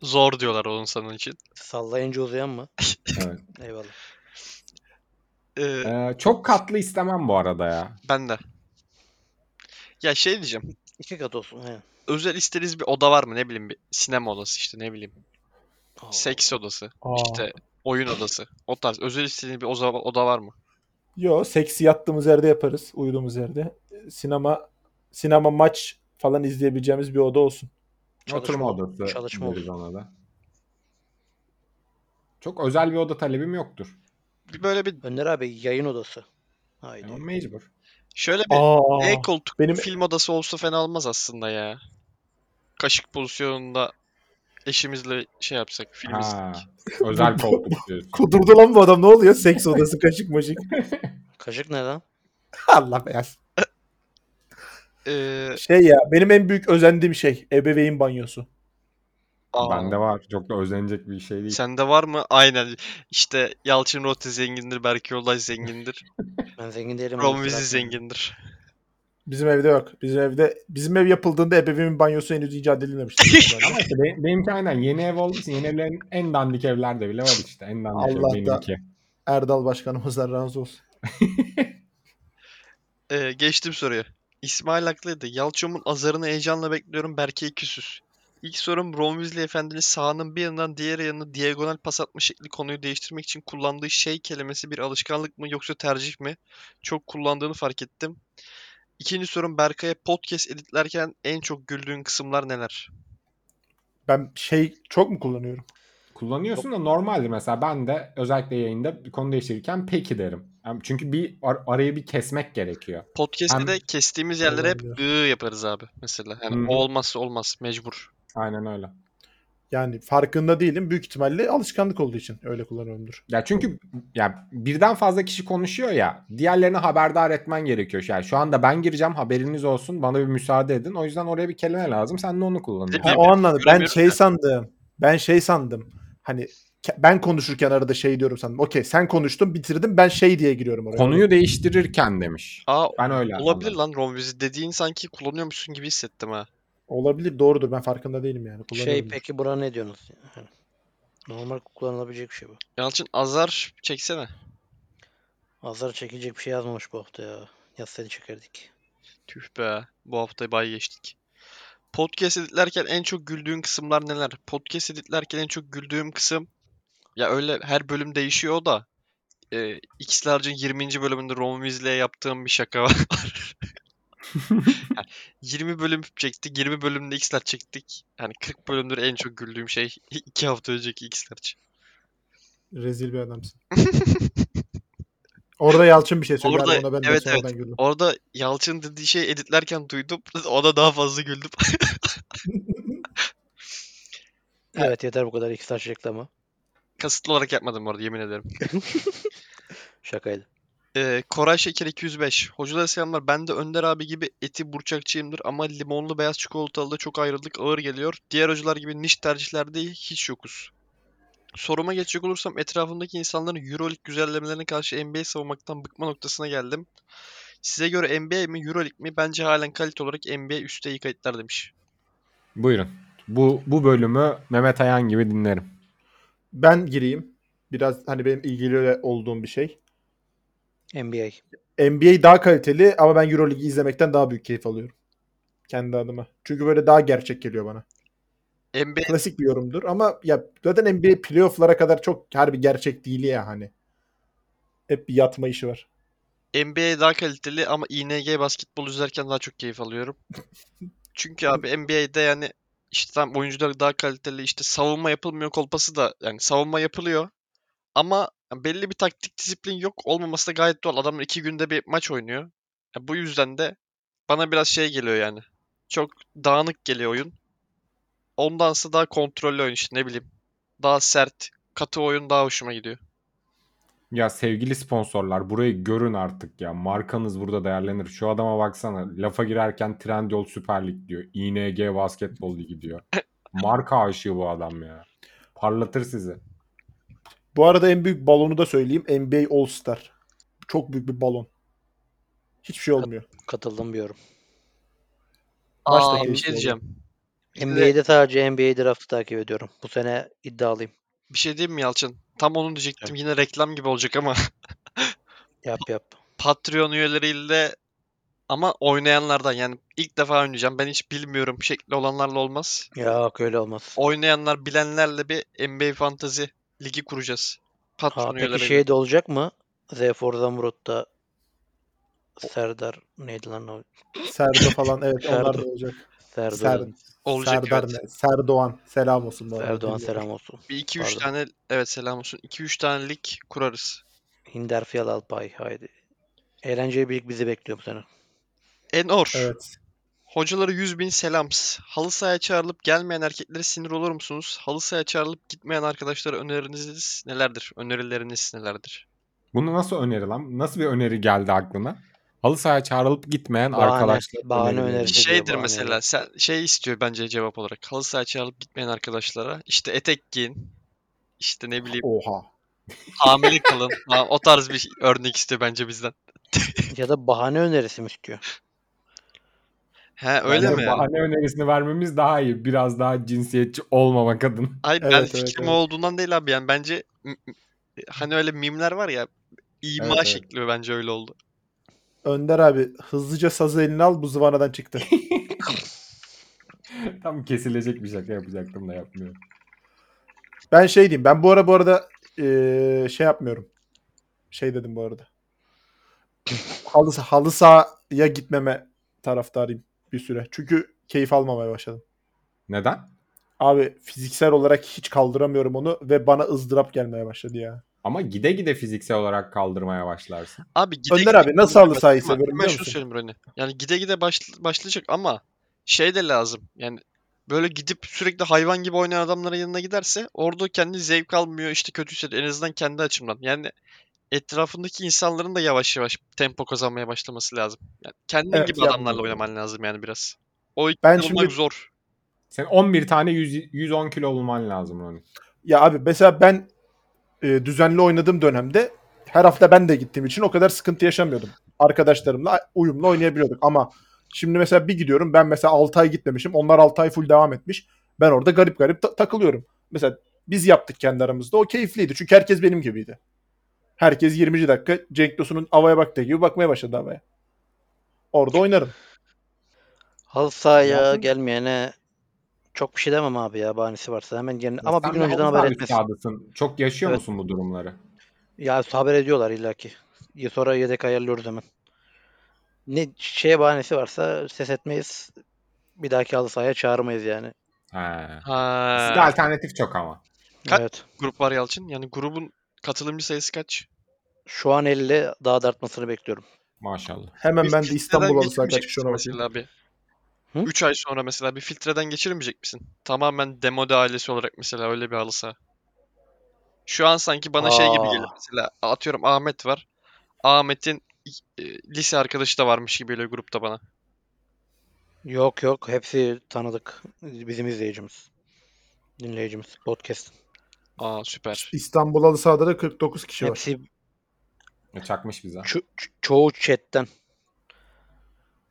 Zor diyorlar onun sanın için.
Sallayınca uzayan mı?
Evet.
Eyvallah.
Ee,
E,
Ee, çok katlı istemem bu arada ya.
ben de. Ya şey diyeceğim.
İki kat olsun. He.
Özel istediğiniz bir oda var mı? Ne bileyim bir sinema odası işte ne bileyim.
Aa,
Seks odası.
Aa.
işte oyun odası. O tarz. Özel istediğiniz bir oza- oda var mı?
Yo seksi yattığımız yerde yaparız. Uyuduğumuz yerde. Sinema sinema maç falan izleyebileceğimiz bir oda olsun.
Oturma
Çalışma-
odası.
çalışma
deriz
odası.
ona da. Çok özel bir oda talebim yoktur.
Bir böyle bir
Önder abi yayın odası. Haydi.
Ama mecbur.
şöyle bir
Aa.
L koltuk
benim-
film odası olsa fena olmaz aslında ya. Kaşık pozisyonunda eşimizle şey yapsak, film
Ha,
izledik.
özel koltuk diyorsun.
Kudurdu lan bu adam ne oluyor? Seks odası kaşık maşık.
Kaşık ne lan?
Allah beyaz.
Ee,
Şey ya benim en büyük özendiğim şey ebeveyn banyosu.
aa,
Bende var. Çok da özenecek bir şey değil.
Sende var mı? Aynen. İşte Yalçın Rote zengindir, Berke Yoldaş zengindir,
Ben zengin değilim. ama
Ron
kusura
Weasley
bakmayın.
zengindir.
Bizim evde yok. Bizim evde bizim ev yapıldığında ebeveynin banyosu henüz icat edilmemişti.
Ama işte benim, benimki aynen yeni ev olduğu için yeni evlerin en dandik evlerde bile var işte. En dandik
Allah da-
ev benimki.
Erdal başkanımızdan razı olsun.
Ee, geçtim soruya. İsmail haklıydı. Yalçın'ın azarını heyecanla bekliyorum. Berke'yi küsüz. İlk sorum Ron Weasley Efendi'nin sahanın bir yanından diğer yanına diagonal pas atma şekli konuyu değiştirmek için kullandığı şey kelimesi bir alışkanlık mı yoksa tercih mi? Çok kullandığını fark ettim. İkinci sorum Berkay'a podcast editlerken en çok güldüğün kısımlar neler?
Ben şey çok mu kullanıyorum?
Kullanıyorsun da normaldir mesela ben de özellikle yayında bir konu değiştirirken peki derim. Yani Çünkü bir ar- arayı bir kesmek gerekiyor.
Podcast'te
Hem-
de kestiğimiz yerlere hep
Olabilir.
ı yaparız abi mesela. Yani
Hı hı.
o olmazsa olmaz mecbur.
Aynen öyle.
Yani farkında değilim. Büyük ihtimalle alışkanlık olduğu için öyle kullanıyorumdur.
Ya çünkü ya birden fazla kişi konuşuyor ya. Diğerlerini haberdar etmen gerekiyor. Yani şu anda ben gireceğim haberiniz olsun. Bana bir müsaade edin. O yüzden oraya bir kelime lazım. Sen de onu
Bir de
kullanıyorsun.
Ha,
Bilmiyorum,
o anlamda ben
göremiyorum
şey
da.
sandım. Ben şey sandım. Hani ke- ben konuşurken arada şey diyorum sandım. Okey sen konuştun bitirdim ben şey diye giriyorum oraya.
Konuyu değiştirirken demiş.
Aa
Ben öyle
olabilir
anladım.
lan Romvizi dediğin sanki kullanıyormuşsun gibi hissettim ha.
Olabilir doğrudur ben farkında değilim yani.
Şey
Kullanıyorumdur.
peki buna ne diyorsunuz? Yani normal kullanılabilecek bir şey bu.
Yalçın azar çeksene.
Azar çekilecek bir şey yazmamış bu hafta ya. Yazsaydı çekerdik.
Tüh be. Bu hafta bay geçtik. Podcast editlerken en çok güldüğün kısımlar neler? Podcast editlerken en çok güldüğüm kısım ya öyle her bölüm değişiyor da e, X-Large'ın 20. bölümünde Ron Weasley'e yaptığım bir şaka var. Yani 20 bölüm çektik. 20 bölümde X-Large çektik. Yani 40 bölümdür en çok güldüğüm şey 2 hafta önceki X-Large.
Rezil bir adamsın. Orada Yalçın bir şey söyledi.
Orada-
Abi ona ben de
evet,
sonradan güldüm.
Orada Yalçın dediği şey editlerken duydum. Ona daha fazla güldüm.
Evet yeter bu kadar. İki saat reklamı.
Kasıtlı olarak yapmadım bu arada yemin ederim.
Şakaydı.
Ee, Koray Şeker 205. Hocalara selamlar. Ben de Önder abi gibi eti burçakçıyımdır ama limonlu beyaz çikolatalı da çok ayrılık ağır geliyor. Diğer hocalar gibi niş tercihlerde hiç yokuz. Soruma geçecek olursam etrafımdaki insanların Euroleague güzellemelerine karşı NBA savunmaktan bıkma noktasına geldim. Size göre NBA mi Euroleague mi? Bence halen kalite olarak NBA üstte iyi kayıtlar demiş.
Buyurun. Bu bu bölümü Mehmet Ayan gibi dinlerim.
Ben gireyim. Biraz hani benim ilgili olduğum bir şey.
NBA.
NBA daha kaliteli ama ben Euroligi izlemekten daha büyük keyif alıyorum. Kendi adıma. Çünkü böyle daha gerçek geliyor bana.
NBA
Klasik bir yorumdur ama ya zaten NBA playoff'lara kadar çok harbi gerçek değil ya hani. Hep bir yatma işi var.
NBA daha kaliteli ama ING basketbol izlerken daha çok keyif alıyorum. Çünkü abi NBA'de yani işte tam oyuncular daha kaliteli işte savunma yapılmıyor kolpası da yani savunma yapılıyor ama belli bir taktik disiplin yok olmaması da gayet doğal. Adamlar iki günde bir maç oynuyor. Ya bu yüzden de bana biraz şey geliyor yani. Çok dağınık geliyor oyun. Ondansa daha kontrollü oyun işte ne bileyim. Daha sert, katı oyun daha hoşuma gidiyor.
Ya sevgili sponsorlar burayı görün artık ya. Markanız burada değerlenir. Şu adama baksana. Lafa girerken Trendyol Süper Lig diyor. ING Basketbol Ligi diyor. Marka aşığı bu adam ya. Parlatır sizi.
Bu arada en büyük balonu da söyleyeyim. NBA All Star. Çok büyük bir balon. Hiçbir şey olmuyor.
Katıldım bir yorum.
Maç da
Aa, bir
keyifli
şey
oluyor.
diyeceğim. Bir de-
NBA'de sadece NBA draftı takip ediyorum. Bu sene iddialıyım.
Bir şey diyeyim mi Yalçın? Tam onu diyecektim. Yine reklam gibi olacak ama
Yap yap.
Patreon üyeleriyle ama oynayanlardan yani ilk defa oynayacağım ben hiç bilmiyorum şekli olanlarla olmaz.
Ya öyle olmaz.
Oynayanlar bilenlerle bir NBA Fantasy ligi kuracağız. Patreon
Ha, peki
üyeleriyle.
şey de olacak mı? Z for Zamrud'da Serdar neydi lan o?
Serdo falan evet onlar da
Serdo.
olacak.
Serdar.
Ser,
Olacak,
Serdar
evet.
ne? Serdoğan. Selam olsun bu arada.
Erdoğan
Dinliyorum.
selam olsun.
Bir iki üç
Pardon.
tane evet selam olsun. 2 3 tane lig kurarız.
Hinder Fiyal Alpay haydi. Eğlenceli birlik bizi bekliyor bu sene.
Enor.
Evet.
Hocalara 100 bin selams. Halı sahaya çağrılıp gelmeyen erkeklere sinir olur musunuz? Halı sahaya çağrılıp gitmeyen arkadaşlara öneriniz nelerdir? Önerileriniz nelerdir?
Bunu nasıl öneri lan? Nasıl bir öneri geldi aklına? Halı sahaya çağrılıp gitmeyen
Bahane-
arkadaşlar.
bahane
önerileri.
önerisi. İşte diye
Şey Şeydir
bahane
mesela
yok.
sen şey istiyor bence cevap olarak. Halı sahaya çağrılıp gitmeyen arkadaşlara işte etek giyin. işte ne bileyim
Oha.
hamile kalın. Ha, o tarz bir örnek istiyor bence bizden.
Ya da bahane önerisi mi istiyor?
He öyle
Bence
mi? yani?
Bahane önerisini vermemiz daha iyi. Biraz daha cinsiyetçi olmamak adına.
Hayır ben
Evet, evet,
fikrim
evet.
o olduğundan değil abi yani bence m- m- hani öyle mimler var ya ima
Evet, evet.
şekli bence öyle oldu.
Önder abi hızlıca sazı eline al bu zıvanadan çıktı.
Tam kesilecek bir şaka yapacaktım da yapmıyorum.
Ben şey diyeyim. Ben bu ara bu arada eee, şey yapmıyorum. Şey dedim bu arada. halı, halı sahaya gitmeme taraftarıyım bir süre. Çünkü keyif almamaya başladım.
Neden?
Abi fiziksel olarak hiç kaldıramıyorum onu ve bana ızdırap gelmeye başladı ya.
Ama gide gide fiziksel olarak kaldırmaya başlarsın.
Abi gide
Önder
gide
abi nasıl halı sahayı
Ama
seviyorum
Hemen
biliyor
şunu
musun?
söyleyeyim Rony. Yani gide gide baş- başlayacak ama şey de lazım. Yani böyle gidip sürekli hayvan gibi oynayan adamların yanına giderse orada kendi zevk almıyor işte kötü hissediyor en azından kendi açımdan. Yani etrafındaki insanların da yavaş yavaş tempo kazanmaya başlaması lazım. Yani kendin
Evet,
gibi
yani.
adamlarla oynaman lazım yani biraz. O ikna
Ben
olmak
şimdi-
zor.
Sen 11 tane 100, 110 kilo olman lazım Ronnie.
Ya abi mesela ben e, düzenli oynadığım dönemde her hafta ben de gittiğim için o kadar sıkıntı yaşamıyordum. Arkadaşlarımla uyumlu oynayabiliyorduk ama şimdi mesela bir gidiyorum ben mesela 6 ay gitmemişim. Onlar 6 ay full devam etmiş. Ben orada garip garip ta- takılıyorum. Mesela biz yaptık kendi aramızda. O keyifliydi. Çünkü herkes benim gibiydi. Herkes 20. dakika Cenk Tosun'un havaya baktığı gibi bakmaya başladı havaya. Orada oynarım.
Halı sahaya
Yaptın.
gelmeyene çok bir şey demem abi ya bahanesi varsa hemen gelin. Ama bir
Sen
gün
de
önceden
halı
haber
saha
etmesin.
üstadısın. Çok yaşıyor
Evet.
musun bu durumları?
Ya haber ediyorlar illaki. Ya Sonra yedek ayarlıyoruz hemen. Ne şeye bahanesi varsa ses etmeyiz. Bir dahaki halı sahaya çağırmayız yani.
Ha. Sizde
Ha.
alternatif çok ama.
Ka-
Evet.
Grup var Yalçın. Yani grubun katılımcı sayısı kaç?
Şu an 50 daha da artmasını bekliyorum.
Maşallah.
Hemen
Bir
ben de
filtreden
İstanbul halı saha
geçirmeyecek
kaç kişi ona
misin
bakayım.
Mesela
Hı?
bir. 3 ay sonra mesela bir filtreden geçirmeyecek misin? Tamamen demode ailesi olarak mesela öyle bir halı saha. Şu an sanki bana şey gibi geliyor
Aa.
mesela atıyorum Ahmet var. Ahmet'in e, lise arkadaşı da varmış gibi geliyor grupta bana.
Yok yok hepsi tanıdık. Bizim izleyicimiz. Dinleyicimiz. Podcast.
Aa süper.
İstanbul halı sahada da 49 kişi şey var.
Hepsi
E, Çakmış bize.
ço- ço- çoğu chatten.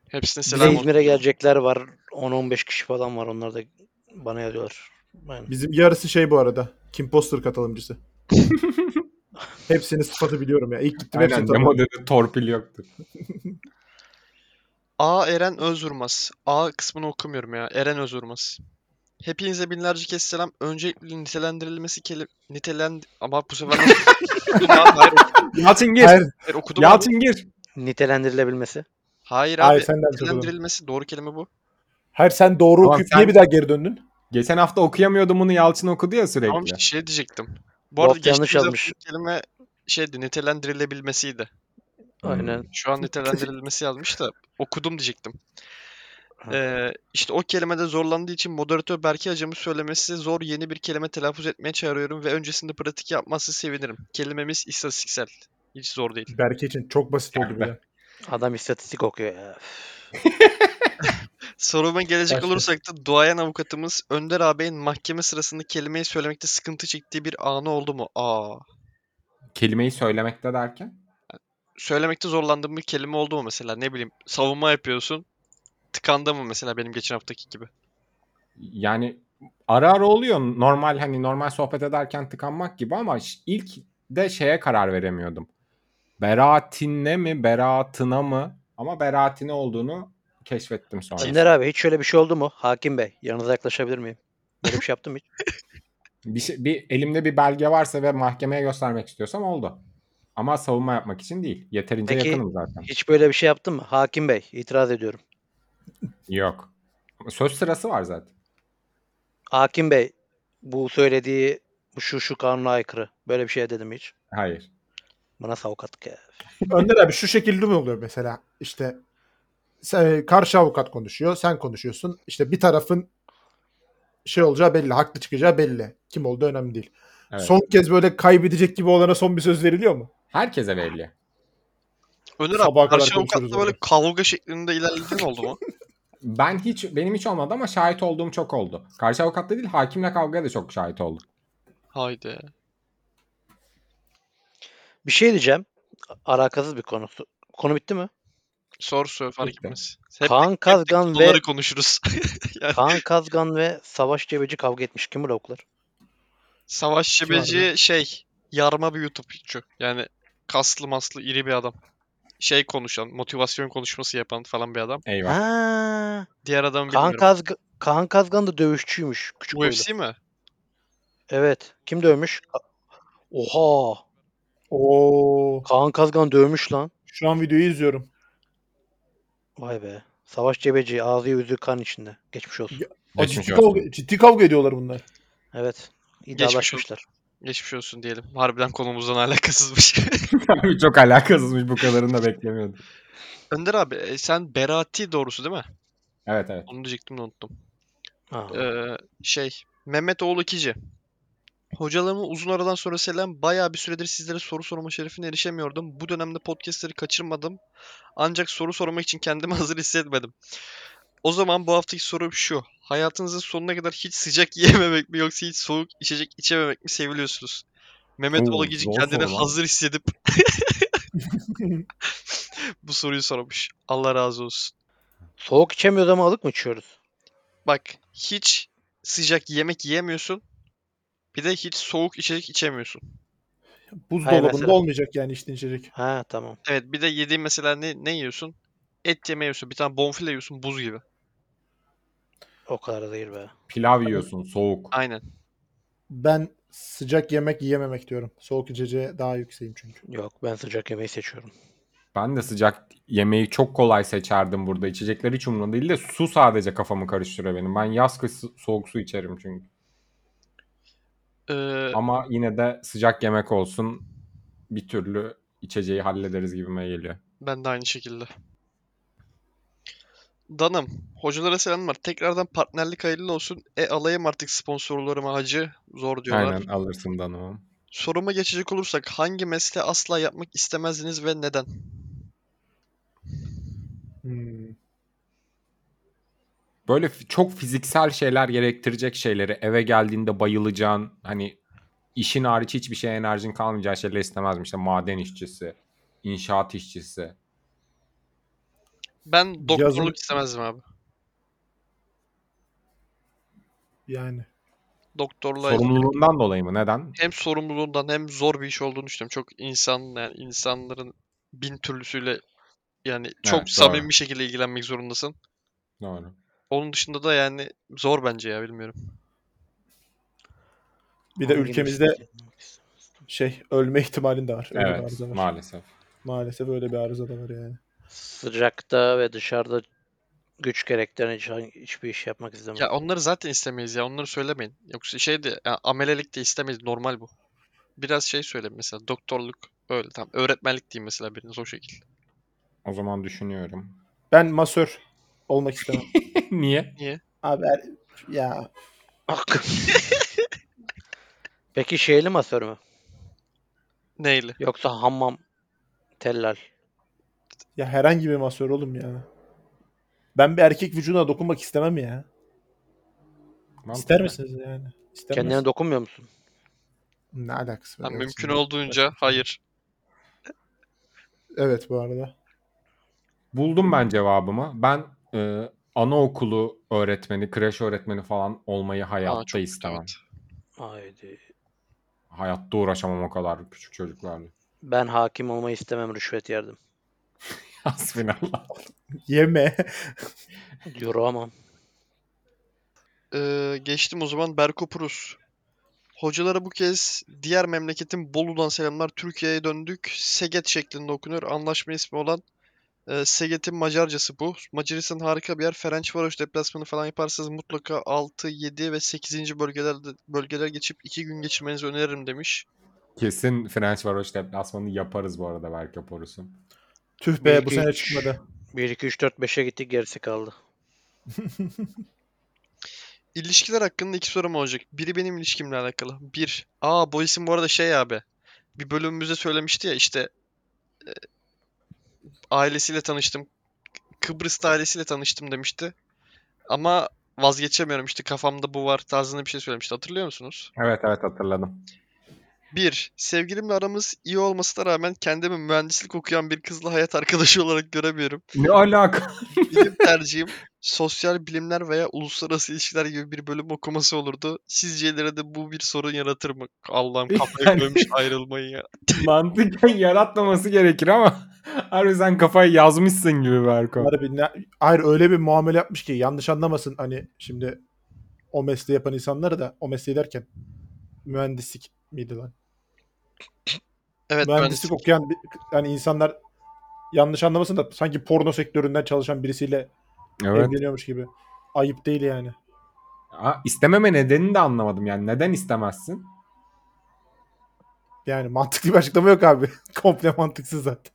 Hepsine
Bize
selam olsun.
İzmir'e gelecekler var. 10-15 kişi falan var. Onlar da bana yazıyorlar. Aynen.
Bizim yarısı şey bu arada. Kim Poster katılımcısı. Hepsini sıfatı biliyorum ya. İlk gittim hepsini
Aynen
tanıdım.
demodede torpil yoktu.
A Eren Özurmaz. A kısmını okumuyorum ya. Eren Özurmaz. Hepinize binlerce kez selam. Öncelikle nitelendirilmesi keli nitelend ama bu sefer hayır,
Yalçın gir.
Hayır,
hayır okudum abi.
Yalçın gir.
Nitelendirilebilmesi.
Hayır abi.
hayır sen de yanlış okudun.
nitelendirilmesi doğru kelime bu.
Hayır sen doğru
Tamam,
okuyup
sen-
niye bir daha geri döndün?
Geçen hafta okuyamıyordum bunu Yalçın okudu ya sürekli.
Tamam işte şey diyecektim. Bu
Bu
arada
hafta yanlış
geçtiğimiz
yazmış.
haftaki kelime şeydi nitelendirilebilmesiydi.
Hmm.
Aynen.
Şu an nitelendirilmesi yazmış da okudum diyecektim.
Ha.
Ee, işte o kelimede zorlandığı için moderatör Berke hacamı söylemesi zor yeni bir kelime telaffuz etmeye çağırıyorum ve öncesinde pratik yapması sevinirim. Kelimemiz istatistiksel. Hiç zor değil.
Berke için çok basit oldu
Geldi.
bile.
Adam istatistik okuyor ya.
Soruma gelecek
Başka.
olursak da duayen avukatımız Önder ağabeyin mahkeme sırasında kelimeyi söylemekte sıkıntı çektiği bir anı oldu mu? Aa.
Kelimeyi söylemekte derken.
Söylemekte zorlandığım bir kelime oldu mu mesela? Ne bileyim savunma yapıyorsun. Tıkandı mı mesela benim geçen haftaki gibi?
Yani ara ara oluyor normal hani normal sohbet ederken tıkanmak gibi ama ş- ilk de şeye karar veremiyordum. Beraatine mi beraatına mı ama beraatine olduğunu keşfettim sonra.
Önder abi hiç şöyle bir şey oldu mu? Hakim Bey yanınıza yaklaşabilir miyim? Böyle bir şey yaptım hiç.
Bir, şey- bir elimde bir belge varsa ve mahkemeye göstermek istiyorsam oldu. Ama savunma yapmak için değil. Yeterince
Peki-
yakınım zaten.
Hiç böyle bir şey yaptın mı? Hakim Bey itiraz ediyorum.
Yok. Söz sırası var zaten.
Hakim Bey bu söylediği bu şu şu kanuna aykırı. Böyle bir şey dedim mi hiç.
Hayır.
Bana savukatlık ya.
Önder abi şu şekilde mi oluyor mesela? İşte sen- e, karşı avukat konuşuyor, sen konuşuyorsun. İşte bir tarafın şey olacağı belli, haklı çıkacağı belli. Kim olduğu önemli değil.
Evet.
Son kez böyle kaybedecek gibi olana son bir söz veriliyor mu?
Herkese belli.
Öner
Sabaha
abi
kadar
karşı
konuşuruz
avukatla böyle
orada.
kavga şeklinde ilerlediğin oldu mu?
Ben hiç benim hiç olmadı ama şahit olduğum çok oldu. Karşı avukatla değil hakimle kavgaya da çok şahit oldum.
Haydi.
Bir şey diyeceğim. Alakasız bir konu. Konu bitti mi?
Sor sor fark
Bitti.
etmez. Hep
Kaan Kazgan ve
konuları konuşuruz.
Kaan Kazgan ve Savaş Cebeci kavga etmiş. Kim bu lavuklar?
Savaş
Kim var
Cebeci şey yarma bir YouTube'cu. Yani kaslı maslı iri bir adam. Şey konuşan, motivasyon konuşması yapan falan bir adam.
Eyvah.
Ha,
Diğer adamı
Kaan,
bilmiyorum.
Kazg Kaan Kazgan da dövüşçüymüş. Küçük boylu.
UFC mi?
Evet. Kim dövmüş? Ka- Oha.
Oo,
Kaan Kazgan dövmüş lan.
şu an videoyu izliyorum.
Vay be. Savaş Cebeci ağzı yüzü kan içinde. Geçmiş olsun.
Aa,
Geçmiş
ciddi,
olsun.
kavga, ciddi kavga ediyorlar bunlar.
Evet.
Geçmiş olsun.
İddialaşmışlar.
Geçmiş olsun diyelim. Harbiden konumuzdan alakasızmış.
Abi çok alakasızmış bu kadarını da beklemiyordum.
Önder abi e, sen Berati doğrusu değil mi?
Evet evet.
Onu diyecektim de unuttum.
Aa,
Ee, şey Mehmet Oğlu Kici. Hocalarımı uzun aradan sonra selam. Bayağı bir süredir sizlere soru sorma şerefine erişemiyordum. Bu dönemde podcastleri kaçırmadım. Ancak soru sormak için kendimi hazır hissetmedim. O zaman bu haftaki sorum şu. Hayatınızın sonuna kadar hiç sıcak yiyememek mi yoksa hiç soğuk içecek içememek mi seviliyorsunuz? Mehmet
Oo,
Oğlu Kici
zor
kendini
soru lan.
hazır hissedip bu soruyu sormuş. Allah razı olsun.
Soğuk içemiyoruz ama ılık mı içiyoruz?
Bak hiç sıcak yemek yiyemiyorsun. Bir de hiç soğuk içecek içemiyorsun.
Buzdolabında
mesela.
olmayacak yani içtiğin içecek.
Ha tamam.
Evet bir de yediğin mesela ne, ne yiyorsun? Et yemeği yiyorsun. Bir tane bonfile yiyorsun buz gibi.
O kadar da değil be.
Pilav yiyorsun soğuk.
Aynen.
Ben sıcak yemek yiyememek diyorum. Soğuk içeceğe daha yükseğim çünkü.
Yok ben sıcak yemeği seçiyorum.
Ben de sıcak yemeği çok kolay seçerdim burada. İçecekler hiç umurumda değil de su sadece kafamı karıştırıyor benim. Ben yaz kış soğuk su içerim çünkü.
Ee,
Ama yine de sıcak yemek olsun bir türlü içeceği hallederiz gibime geliyor.
ben de aynı şekilde. Danım. Hocalara selamlar. Tekrardan partnerlik hayırlı olsun. E alayım artık sponsorlarıma hacı. Zor diyorlar.
Aynen alırsın danımım.
Soruma geçecek olursak hangi mesleği asla yapmak istemezdiniz ve neden?
Hmm.
Böyle f- çok fiziksel şeyler gerektirecek şeyleri eve geldiğinde bayılacağın hani işin hariç hiçbir şeye enerjin kalmayacağı şeyler istemezdim. İşte maden işçisi, inşaat işçisi.
Ben doktorluk istemezdim abi.
Yani.
Doktorluğa
Sorumluluğundan dolayı mı? Neden?
hem sorumluluğundan hem zor bir iş olduğunu düşünüyorum. Çok insan yani insanların bin türlüsüyle yani çok
doğru.
samimi bir şekilde ilgilenmek zorundasın.
Doğru.
Onun dışında da yani zor bence ya bilmiyorum.
Bir de
Hangi
ülkemizde
meslek yapmak istedim?
şey ölme ihtimalin de var. Öyle bir
Evet
arıza var.
maalesef.
Maalesef öyle bir arıza da var yani.
Sıcakta ve dışarıda güç gerektiren hiç, hiçbir iş yapmak istemem.
Ya onları zaten istemeyiz ya onları söylemeyin. Yoksa şey de ya amelelik de istemeyiz normal bu. Biraz şey söyle mesela doktorluk öyle tamam öğretmenlik diyeyim mesela biriniz o şekilde.
O zaman düşünüyorum.
Ben masör olmak istemem.
Niye?
Abi er- ya
Ak. Ah! Peki şeyli masör mü?
Neyle?
Yoksa hammam, tellal.
ya herhangi bir masör oğlum ya. Ben bir erkek vücuduna dokunmak istemem ya. İster misiniz yani? İstemez.
Kendine dokunmuyor musun?
Ne alakası var?
Tamam,
Evet,
mümkün
şimdi-
olduğunca hayır.
Evet bu arada.
Buldum ben cevabımı. Ben e, anaokulu öğretmeni, kreş öğretmeni falan olmayı
Aa,
hayatta
çok
istemem.
evet.
Haydi.
Hayatta uğraşamam o kadar küçük çocuklarla.
Ben hakim olmayı istemem rüşvet yerdim.
Hasbinallah.
Yeme.
Yoramam.
Ee, geçtim o zaman Berko Prus. Hocalara bu kez diğer memleketin Bolu'dan selamlar. Türkiye'ye döndük. Seget şeklinde okunuyor. Anlaşma ismi olan e, Seget'in Macarcası bu. Macaristan harika bir yer. Ferencvaros deplasmanı falan yaparsanız mutlaka 6, 7 ve 8. bölgelerde bölgeler geçip 2 gün geçirmenizi öneririm demiş.
Kesin French Varoş deplasmanı yaparız bu arada belki Porus'u.
Tüh
Bir,
be bu
iki,
sene
üç.
çıkmadı.
1, 2, 3, 4, 5'e gittik gerisi kaldı.
İlişkiler hakkında iki sorum olacak. Biri benim ilişkimle alakalı. Bir, aa bu isim bu arada şey abi. Bir bölümümüzde söylemişti ya işte e, ailesiyle tanıştım. Kıbrıs'ta ailesiyle tanıştım demişti. Ama vazgeçemiyorum işte kafamda bu var tarzında bir şey söylemişti. Hatırlıyor musunuz?
Evet evet hatırladım.
Bir, sevgilimle aramız iyi olmasına rağmen kendimi mühendislik okuyan bir kızla hayat arkadaşı olarak göremiyorum.
Ne alaka?
Benim tercihim sosyal bilimler veya uluslararası ilişkiler gibi bir bölüm okuması olurdu. Sizcelere de bu bir sorun yaratır mı? Allah'ım kafaya
Yani-
koymuş ayrılmayı ya.
Mantıken yaratmaması gerekir ama harbi sen kafayı yazmışsın gibi Berko.
Harbi ne- Hayır öyle bir muamele yapmış ki yanlış anlamasın hani şimdi o mesleği yapan insanları da o mesleği derken mühendislik miydi lan?
Evet
mühendislik okuyan bir- yani insanlar yanlış anlamasın da sanki porno sektöründen çalışan birisiyle
Evet.
evleniyormuş gibi. Ayıp değil yani.
Ha, istememe nedenini de anlamadım yani. Neden istemezsin?
Yani mantıklı bir açıklama yok abi. Komple mantıksız zaten.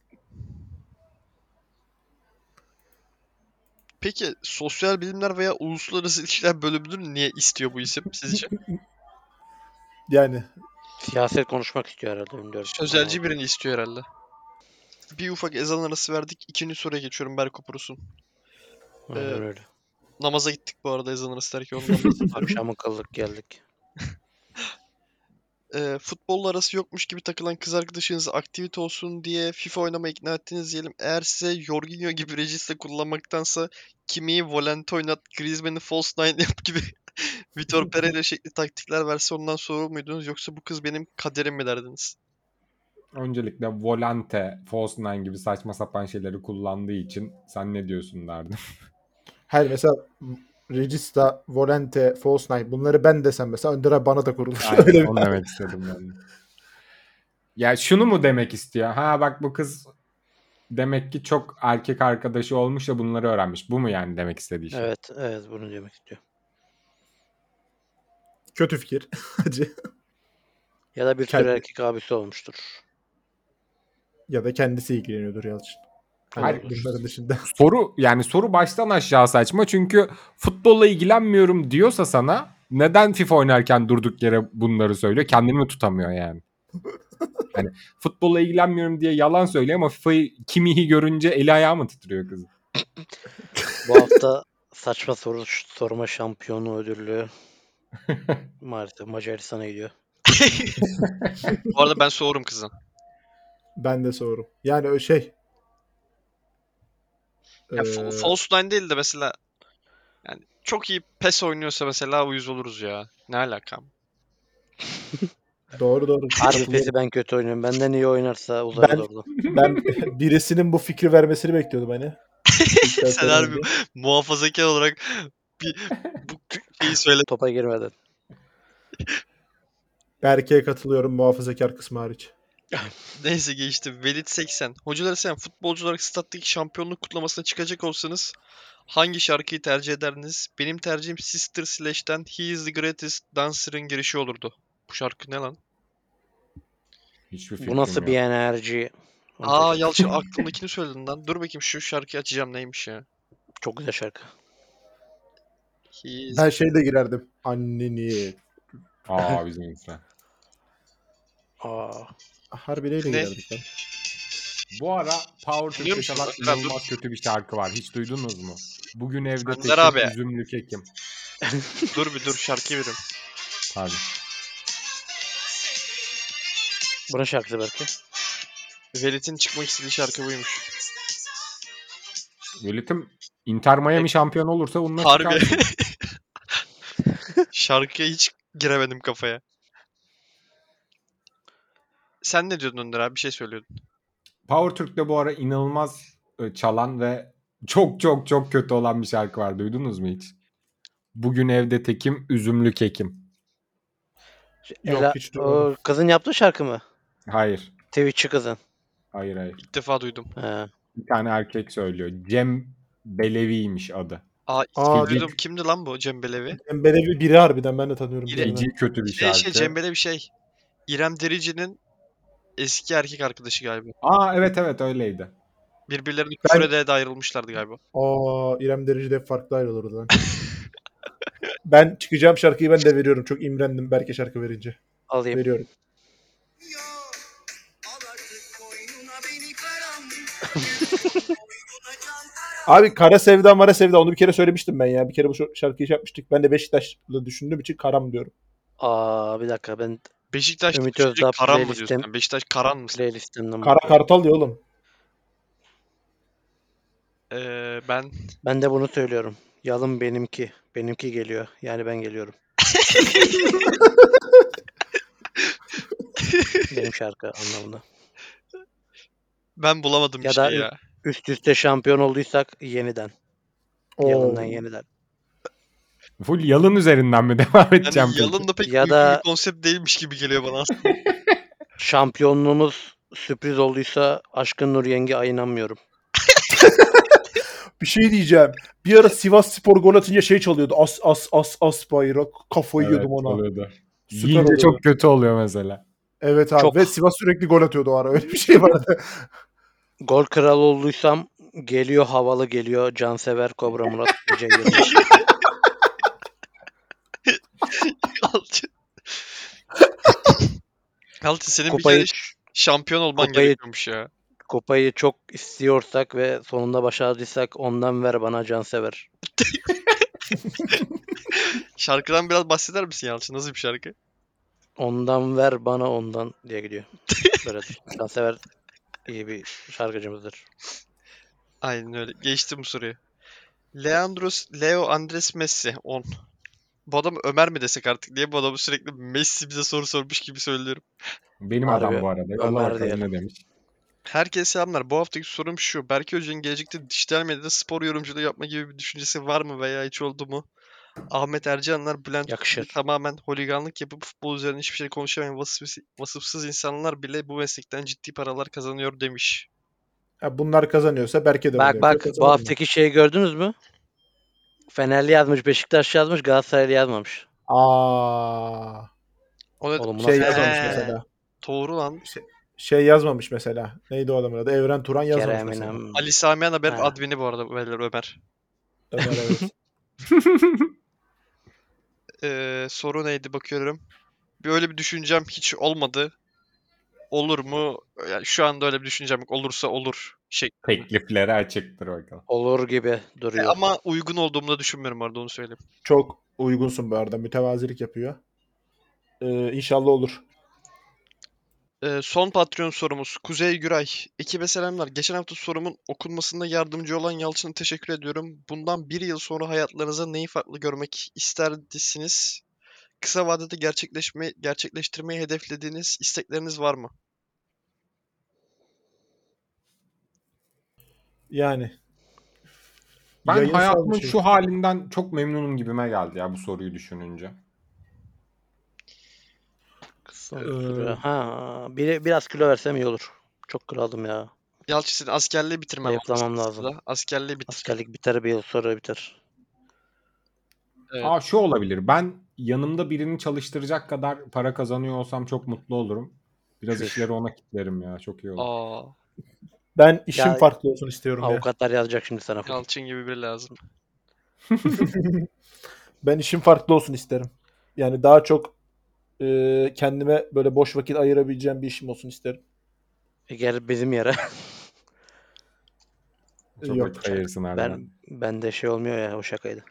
Peki sosyal bilimler veya uluslararası ilişkiler bölümünü niye istiyor bu isim sizce?
Yani
Siyaset konuşmak istiyor herhalde. bilmiyorum.
Sözelci birini istiyor herhalde. Bir ufak ezan arası verdik. İkinci soruya geçiyorum Berko Purus'un.
Aynen
Evet.
öyle.
Namaza gittik bu arada ezan arası derken ondan
Akşamı kıldık geldik.
e, futbolla arası yokmuş gibi takılan kız arkadaşınız aktivite olsun diye FIFA oynamaya ikna ettiniz diyelim. Eğer size Jorginho gibi registe kullanmaktansa Kimi'yi volante oynat, Griezmann'i false nine yap gibi Vitor Pereira şekli taktikler verse ondan sorur muydunuz? Yoksa bu kız benim kaderim mi derdiniz?
Öncelikle Volante, False Nine gibi saçma sapan şeyleri kullandığı için sen ne diyorsun derdim.
her mesela Regista, Volente, False Nine bunları ben desem mesela Önder abi bana da kurulur. Öyle
Aynen,
bir-
onu demek istedim ben. de. Ya şunu mu demek istiyor? Ha bak bu kız demek ki çok erkek arkadaşı olmuş da bunları öğrenmiş. Bu mu yani demek istediği şey?
Evet evet bunu demek istiyor.
Kötü fikir. Acı.
Ya da bir
Kendi-
sürü erkek abisi olmuştur.
ya da kendisi ilgileniyordur Yalçın.
Hayır.
Hayır. Bunların dışında.
Soru yani soru baştan aşağı saçma. Çünkü futbolla ilgilenmiyorum diyorsa sana neden FIFA oynarken durduk yere bunları söylüyor? Kendini tutamıyor yani. Yani futbolla ilgilenmiyorum diye yalan söylüyor ama FIFA'yı kimihi görünce eli ayağı mı titriyor kızın?
Bu hafta saçma soru sorma şampiyonu ödüllü maalesef Macaristan'a gidiyor.
Bu arada ben sorurum kızdan.
Ben de sorum. Yani o şey.
Ya, fa-
Ee,
false nine değil de mesela yani çok iyi PES oynuyorsa mesela uyuz oluruz ya. Ne alakam?
doğru doğru.
Harbi pesi ben kötü oynuyorum. Benden iyi oynarsa uzarız
Ben-
orada.
Ben birisinin bu fikri vermesini bekliyordum hani. İlk
Sen harbi muhafazakar olarak bir, bu şeyi söyle.
Topa girmeden.
Berke'ye katılıyorum muhafazakar kısmı hariç.
Neyse geçti. Velit 80. Hocalar sen futbolcu olarak stattaki şampiyonluk kutlamasına çıkacak olsanız hangi şarkıyı tercih ederdiniz? Benim tercihim Sister Slash'ten He is the Greatest Dancer'ın girişi olurdu. Bu şarkı ne lan?
Hiçbir fikrim
Bu nasıl
yok.
bir enerji? Onu
Aa
seçtim.
Yalçın aklımdakini söyledin lan. Dur bakayım şu şarkıyı açacağım neymiş ya.
Çok güzel şarkı.
He is...
Ben şeyle girerdim. Anneni.
Aa bizim insan.
Aa.
Harbi neyle
Ne?
Ah, girerdik lan?
Bu ara Power
Biliyor
Türk'te
musun?
çalan
Dur, dur.
inanılmaz kötü bir şarkı var. Hiç duydunuz mu? Bugün evde
Önder
tekim,
abi.
üzümlü kekim.
dur bir dur şarkıyı verim.
Pardon.
Bunun şarkısı belki.
Velit'in çıkmak istediği şarkı buymuş.
Velitim Inter Miami şampiyon olursa bununla
Harbi.
çıkarsın.
Şarkıya hiç giremedim kafaya. Sen ne diyordun Önder abi? Bir şey söylüyordun.
Power Türk'te bu ara inanılmaz e, çalan ve çok çok çok kötü olan bir şarkı var. Duydunuz mu hiç? Bugün evde tekim, üzümlü kekim.
Şu
Yok,
Ela-
hiç
o
duymadım.
kızın yaptığı şarkı mı?
Hayır.
Twitch'çi kızın.
Hayır hayır.
İlk defa duydum.
He.
Bir tane erkek söylüyor. Cem Belevi'ymiş adı.
Aa, ilk
Aa,
defa duydum.
Lig.
Kimdi lan bu Cem Belevi?
Böyle bir biri harbiden ben de tanıyorum.
Biri.
birini.
Feci kötü bir
Şey, şey
şarkı.
Cem Belevi şey. İrem Derici'nin eski erkek arkadaşı galiba.
Aa evet evet öyleydi.
Birbirlerini
Ben-
küfür ede de ayrılmışlardı galiba.
Aa İrem Derici'de hep farklı ayrılırdı lan. ben çıkacağım şarkıyı ben de veriyorum. Çok imrendim Berke şarkı verince.
Alayım.
Veriyorum.
Yok, al artık boynuna beni karam. Boynuna can karam.
Abi Kara Sevda Mara Sevda onu bir kere söylemiştim ben ya. Bir kere bu şarkıyı şey yapmıştık. Ben de Beşiktaşlı düşündüğüm için Karam diyorum.
Aa bir dakika ben
Beşiktaş
Ümit
düşünce
Özdağ
Karan mı
playlistem-
diyorsun? sen? Beşiktaş Karan mı?
playlistimden
Kara
bakıyorum.
Kartal diyor oğlum.
Ee, ben
Ben de bunu söylüyorum. Yalın benimki. Benimki geliyor. Yani ben geliyorum. Benim şarkı anlamında.
ben bulamadım bir
Ya da
şey ya.
Üst üste şampiyon olduysak yeniden.
Oo.
Yalından yeniden.
Full yalın üzerinden mi devam
Yani
edeceğim? peki?
yalın da pek
Ya
ya
da-
bir konsept değilmiş gibi geliyor bana aslında.
Şampiyonluğumuz sürpriz olduysa Aşkın Nur Yenge ayınamıyorum.
Bir şey diyeceğim. Bir ara Sivas Spor gol atınca şey çalıyordu. As as as as bayrak. Kafayı
Evet,
yiyordum ona.
oluyordu.
Süper
Yiyince
oluyordu.
çok kötü oluyor mesela.
Evet abi.
Çok.
Ve Sivas sürekli gol atıyordu o ara. Öyle bir şey vardı.
Gol kralı olduysam Geliyor havalı geliyor. Cansever Kobra Murat Gece girmiş.
Yalçın. Yalçın senin bir
Kupayı-
kere ş- şampiyon olman
kupayı-
gerekiyormuş ya.
Kupayı çok istiyorsak ve sonunda başardıysak ondan ver bana Cansever.
Şarkıdan biraz bahseder misin Yalçın? Nasıl bir şarkı?
Ondan ver bana ondan diye gidiyor. Böyle Cansever iyi bir şarkıcımızdır.
Aynen öyle. Geçtim bu soruyu. Leandros, Leo Andres Messi 10. Bu adam Ömer mi desek artık diye bu adamı sürekli Messi bize soru sormuş gibi söylüyorum.
Benim
Harbi,
adam bu arada. Allah
Ömer
bakalım
diyelim.
ne demiş.
Herkese selamlar. Bu haftaki sorum şu. Berke Hoca'nın gelecekte dijital medyada spor yorumculuğu yapma gibi bir düşüncesi var mı veya hiç oldu mu? Ahmet Ercanlar, Bülent
Yakışır.
Ulusoy tamamen holiganlık yapıp futbol üzerine hiçbir şey konuşamayan vasıfsız, vasıfsız insanlar bile bu meslekten ciddi paralar kazanıyor demiş.
Ha, bunlar kazanıyorsa Berke de bunu
Bak
yapıyor,
bak bu
kazanamıyor.
haftaki şeyi gördünüz mü? Fenerli yazmış, Beşiktaş yazmış, Galatasaraylı yazmamış.
Aa,
O ne?
Oğlum bu
şey
nasıl
yazmamış
Ee,
mesela.
Doğru lan.
Şey yazmamış mesela. Neydi o adamın adı? Evren Turan yazmamış
Kerem
mesela.
İnan-
Ali Samiyan Haber'in
Ha.
admini bu arada Ömer. Ömer.
Ömer evet.
Ee, soru neydi bakıyorum. Böyle bir düşüncem hiç olmadı. Olur mu? Yani şu anda öyle bir düşüncem yok. Olursa olur şey.
Teklifleri açıktır bakalım.
Olur gibi duruyor.
Ama uygun olduğumu da düşünmüyorum orada onu söyleyeyim.
Çok uygunsun bu arada. Mütevazilik yapıyor. Ee, inşallah olur.
Ee, son Patreon sorumuz Kuzey Güray. Ekibe selamlar. Geçen hafta sorumun okunmasında yardımcı olan Yalçın'a teşekkür ediyorum. Bundan bir yıl sonra hayatlarınıza neyi farklı görmek isterdiniz? Kısa vadede gerçekleşme, gerçekleştirmeyi hedeflediğiniz istekleriniz var mı?
Yani.
Ben
Yayınsal
hayatımın
bir şey.
şu halinden çok memnunum gibime geldi ya bu soruyu düşününce.
Kısa
Ee,
sürüyor. Ha, bir, biraz kilo versem iyi olur. Çok kilo aldım ya.
Yalçın senin askerliği bitirmen lazım
Zayıflamam
aslında.
lazım.
Askerliği bitir.
Askerlik biter bir yıl sonra biter.
Evet.
Aa şu olabilir. Ben yanımda birini çalıştıracak kadar para kazanıyor olsam çok mutlu olurum. Biraz
Çüş.
işleri ona kitlerim ya. Çok iyi olur.
Aa,
Ben işim
Ya-
farklı olsun istiyorum ya.
Avukatlar yazacak şimdi sana.
Yalçın gibi biri lazım.
Ben işim farklı olsun isterim. Yani daha çok e, kendime böyle boş vakit ayırabileceğim bir işim olsun isterim.
E, Gel bizim yere.
Çok
Yok.
vakit ayırırsın harbiden.
ben bende şey olmuyor ya o şakaydı.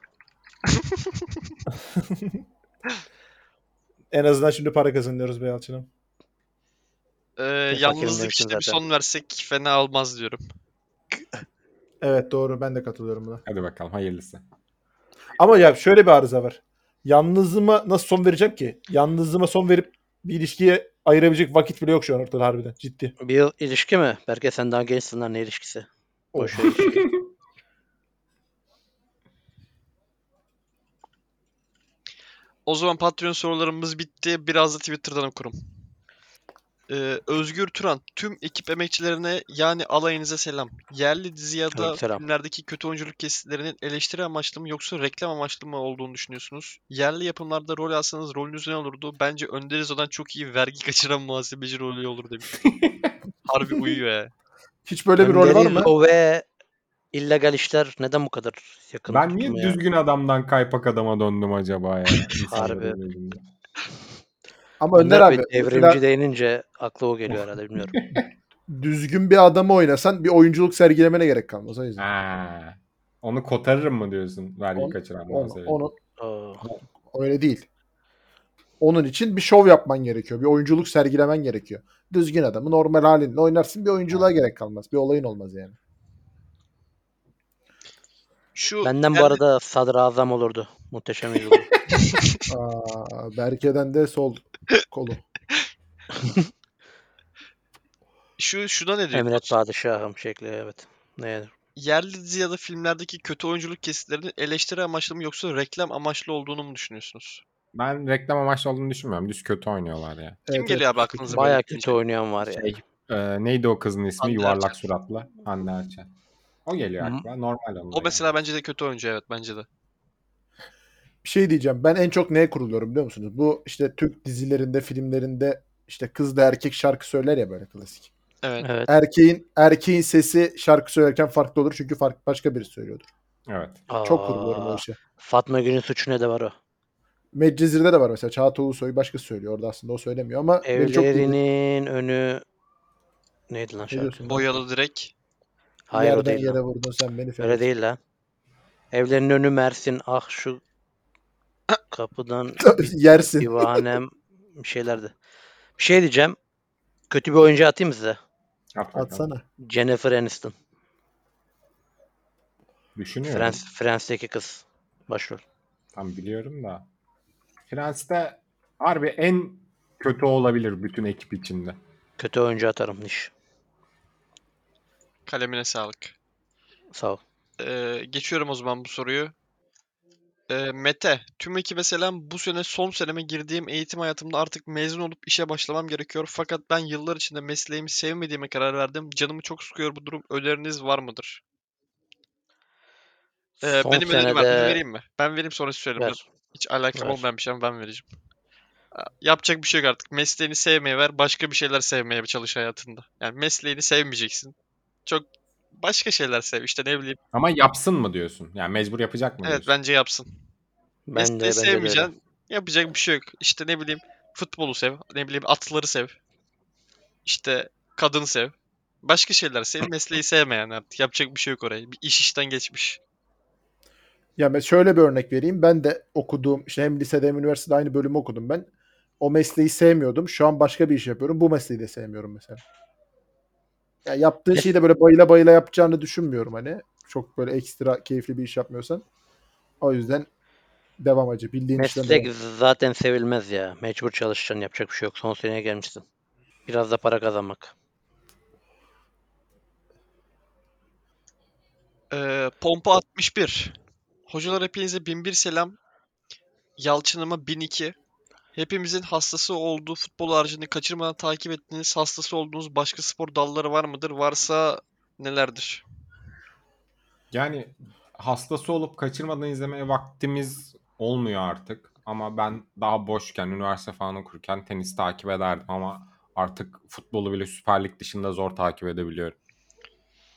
En azından şimdi para kazanıyoruz be Yalçın'ım.
Ee,
demiştin
yalnızlık işte bir
zaten.
son versek fena olmaz diyorum.
Evet doğru ben de katılıyorum buna.
Hadi bakalım hayırlısı.
Ama ya şöyle bir arıza var. Yalnızlığıma nasıl son vereceğim ki? Yalnızlığıma son verip bir ilişkiye ayırabilecek vakit bile yok şu an ortada harbiden. Ciddi.
Bir yıl ilişki mi? Berke sen daha gençsin lan ne ilişkisi? Boş ver ilişki.
O zaman Patreon sorularımız bitti. Biraz da Twitter'dan okurum. Ee, Özgür Turan, tüm ekip emekçilerine yani alayınıza selam. Yerli dizi ya da
Aleykümselam.
filmlerdeki kötü oyunculuk kesitlerinin eleştiri amaçlı mı yoksa reklam amaçlı mı olduğunu düşünüyorsunuz? Yerli yapımlarda rol alsanız rolünüz ne olurdu? Bence Önder İzo'dan çok iyi vergi kaçıran muhasebeci rolü olur demiş. Harbi uyuyor ya.
Hiç böyle bir rol var mı?
O ve illegal işler neden bu kadar yakın
Ben niye
tutma ya?
düzgün adamdan kaypak adama döndüm acaba ya? İnsanların
Harbi.
gözünde.
Ama Önder
Önder
abi
Bey devrimci
mesela
değinince aklı o geliyor herhalde bilmiyorum.
düzgün bir adamı oynasan bir oyunculuk sergilemene gerek kalmaz. O yüzden.
Ha. Onu kotarırım mı diyorsun vergi
On-
kaçıran
Onu,
muhasebeci?
onu,
Oo.
öyle değil. Onun için bir şov yapman gerekiyor. Bir oyunculuk sergilemen gerekiyor. Düzgün adamı normal halinde oynarsın bir oyunculuğa gerek kalmaz. Bir olayın olmaz yani.
Şu
Benden bu
yerli-
arada sadrazam olurdu. Muhteşem yüzyıl.
Aa, Berke'den de sol kolu.
şu şuna ne diyor?
Emret padişahım şekli evet. Ne?
Yerli dizi ya da filmlerdeki kötü oyunculuk kesitlerinin eleştiri amaçlı mı yoksa reklam amaçlı olduğunu mu düşünüyorsunuz?
Ben reklam amaçlı olduğunu düşünmüyorum. Düz kötü oynuyorlar ya.
Kim
Evet,
geliyor
evet.
abi aklınıza böyle?
Bayağı
deyince?
kötü oynayan var ya.
Şey, e, neydi o kızın ismi?
Hande
Yuvarlak
Erçel.
suratlı. Hande Erçel. O geliyor
Hı.
aklıma. Normal onlar.
O mesela bence de kötü oyuncu evet bence de.
Bir şey diyeceğim. Ben en çok neye kuruluyorum biliyor musunuz? Bu işte Türk dizilerinde, filmlerinde işte kız da erkek şarkı söyler ya böyle klasik.
Evet.
Evet.
Erkeğin erkeğin sesi şarkı söylerken farklı olur çünkü fark, başka biri söylüyordur.
Evet.
Aa,
Çok kurguluyorum o işi.
Fatma Gül'ün suçu ne de var o?
Medcezir'de de var mesela Çağatay Ulusoy başkası söylüyor orada aslında o söylemiyor ama beni çok güldürüyor.
Evlerinin önü neydi lan şarkı?
diyorsun?
Boyalı direk.
Hayır o
yerden
değil. lan.
yere vurdun sen beni
Öyle değil lan. Evlerinin önü Mersin. Ah şu kapıdan
Yersin.
divanem bir şeylerdi. Bir şey diyeceğim. Kötü bir oyuncu atayım mı size.
Yap bakalım.
Atsana.
Jennifer Aniston.
Düşünüyorum.
Friends, Friends'teki kız. Başrol.
Tam biliyorum da. Prens'te harbi en kötü olabilir bütün ekip içinde.
Kötü oyuncu atarım. Niş.
Kalemine sağlık.
Sağ ol.
Ee, geçiyorum o zaman bu soruyu. Ee, Mete, tüm ekibe selam. Bu sene son seneme girdiğim eğitim hayatımda artık mezun olup işe başlamam gerekiyor. Fakat ben yıllar içinde mesleğimi sevmediğime karar verdim. Canımı çok sıkıyor bu durum. Öneriniz var mıdır? Ee,
Son
benim önerim var. Bunu
senede-
vereyim mi? Ben vereyim sonra söylerim.
Ver.
Dur. Hiç alakam
Ver.
olmayan bir şey ama ben vereceğim. Aa, Yapacak bir şey yok artık. Mesleğini sevmeye ver. Başka bir şeyler sevmeye çalış hayatında. Yani mesleğini sevmeyeceksin. Çok başka şeyler sev. İşte ne bileyim.
Ama yapsın mı diyorsun? Yani mecbur yapacak mı
Evet
diyorsun?
bence yapsın.
Ben de, ben de
Mesleği
böyle.
sevmeyeceksin. Yapacak bir şey yok. İşte ne bileyim futbolu sev. Ne bileyim atları sev. İşte kadın sev. Başka şeyler sev. Mesleği sevme yani artık. Yapacak bir şey yok oraya. Bir iş işten geçmiş.
Ya ben şöyle bir örnek vereyim. Ben de okuduğum işte hem lisede hem üniversitede aynı bölümü okudum ben. O mesleği sevmiyordum. Şu an başka bir iş yapıyorum. Bu mesleği de sevmiyorum mesela. Ya yaptığın şeyi de böyle bayıla bayıla yapacağını düşünmüyorum hani. Çok böyle ekstra keyifli bir iş yapmıyorsan. O yüzden devam acı. Bildiğin işten
Meslek zaten sevilmez ya. Mecbur çalışacaksın. Yapacak bir şey yok. Son seneye gelmişsin. Biraz da para kazanmak.
Ee, Pompa 61. Hocalar hepinize 1001 selam. Yalçın'ıma 1002. Hepimizin hastası olduğu futbol haricinde kaçırmadan takip ettiğiniz hastası olduğunuz başka spor dalları var mıdır? Varsa nelerdir?
Yani hastası olup kaçırmadan izlemeye vaktimiz olmuyor artık. Ama ben daha boşken, üniversite falan okurken tenis takip ederdim ama artık futbolu bile Süper Lig dışında zor takip edebiliyorum.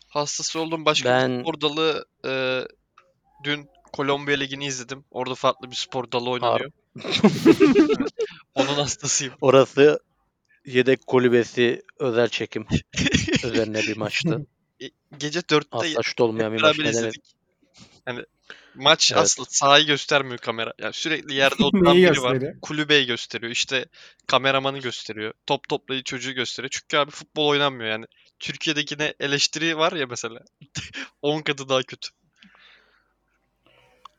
Hastası olduğum başka bir
Ben-
spor dalı e, dün Kolombiya Ligi'ni izledim. Orada farklı bir spor dalı oynanıyor. Onun hastasıyım.
Orası yedek kulübesi özel çekim üzerine bir maçtı.
Gece 4'te
Asla şut olmayan bir maç.
beraber
Neden
izledik. Yani maç
Evet.
aslında sahayı göstermiyor kamera. Yani sürekli yerde oturan
Neyi
biri var.
gösteriyor?
Kulübeyi gösteriyor. İşte kameramanı gösteriyor. Top toplayı çocuğu gösteriyor. Çünkü abi futbol oynanmıyor yani. Türkiye'dekine eleştiri var ya mesela. 10 katı daha kötü.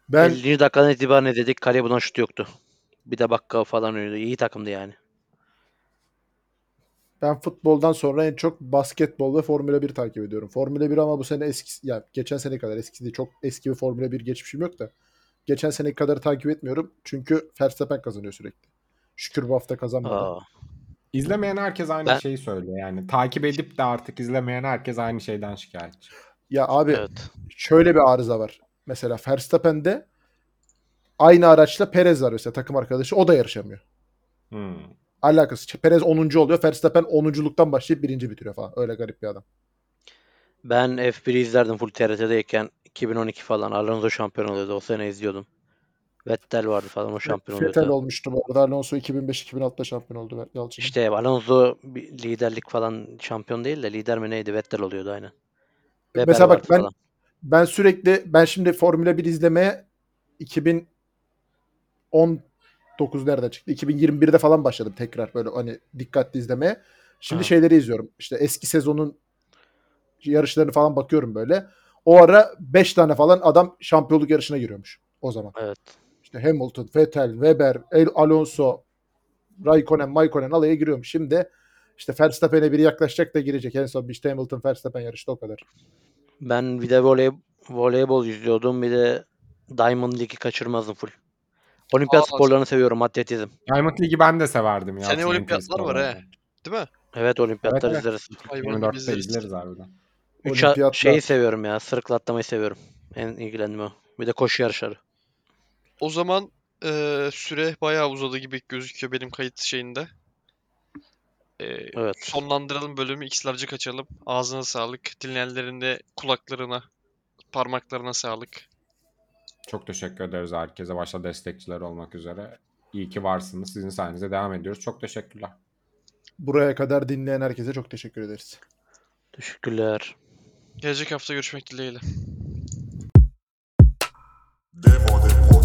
Ben
50. dakikadan itibaren izledik. Kaleye bulan şut yoktu. Bir de bakka falan öyle. İyi takımdı yani.
ben futboldan sonra en çok basketbol ve Formula 1 takip ediyorum. Formula 1 ama bu sene eski ya geçen sene kadar eskisi değil. Çok eski bir Formula 1 geçmişim yok da. Geçen sene kadar takip etmiyorum. Çünkü Verstappen kazanıyor sürekli. Şükür bu hafta kazanmadı.
Aa,
İzlemeyen herkes aynı
Ben-
şeyi söylüyor yani. Takip edip de artık izlemeyen herkes aynı şeyden şikayetçi.
Ya abi
evet.
şöyle bir arıza var. Mesela Verstappen'de aynı araçla Perez var mesela takım arkadaşı. O da yarışamıyor.
Hmm.
Alakası. Perez 10. oluyor. Verstappen 10.luktan başlayıp birinci bitiriyor falan. Öyle garip bir adam.
Ben F1'i izlerdim full TRT'deyken 2012 falan. Alonso şampiyon oluyordu. O sene izliyordum. Vettel vardı falan o şampiyon oluyordu.
Fetel olmuştu bu arada. Alonso 2005-2006'da şampiyon oldu Yalçın.
İşte Alonso bir liderlik falan şampiyon değil de lider mi neydi? Vettel oluyordu aynen. Weber
Mesela bak
vardı
ben
falan.
ben sürekli ben şimdi Formula 1 izlemeye 2019 nereden çıktı? 2021'de falan başladım tekrar böyle hani dikkatli izlemeye. Şimdi
Ha.
şeyleri izliyorum. İşte eski sezonun yarışlarını falan bakıyorum böyle. O ara 5 tane falan adam şampiyonluk yarışına giriyormuş o zaman.
Evet.
İşte Hamilton, Vettel, Weber, El Alonso, Raikkonen, Maikkonen alaya giriyormuş. Şimdi işte Verstappen'e biri yaklaşacak da girecek. En son işte Hamilton, Verstappen yarıştı o kadar.
Ben bir de voley, voleybol izliyordum. Bir de Diamond League'i kaçırmazdım full. Olimpiyat
Aa,
sporlarını seviyorum. Atletizm.
Diamond Ligi ben de severdim ya.
Seneye
Atletin
olimpiyatlar var
sporlardan.
he. Değil mi?
Evet olimpiyatlar
evet.
izleriz.
Hayvan gibi
24'te
izleriz.
izleriz harbiden.
Üç a-
Olimpiyatlar.
şeyi seviyorum ya. Sırıkla atlamayı seviyorum. En ilgilendiğim o. Bir de koşu yarışları.
O zaman eee, süre bayağı uzadı gibi gözüküyor benim kayıt şeyinde. Ee,
Evet.
Sonlandıralım bölümü. X'larcı kaçalım. Ağzına sağlık. Dinleyenlerin de kulaklarına, parmaklarına sağlık.
Çok teşekkür ederiz herkese. Başta destekçiler olmak üzere. İyi ki varsınız. Sizin sayenizde devam ediyoruz. Çok teşekkürler.
Buraya kadar dinleyen herkese çok teşekkür ederiz.
Teşekkürler.
Gelecek hafta görüşmek dileğiyle.
Devo de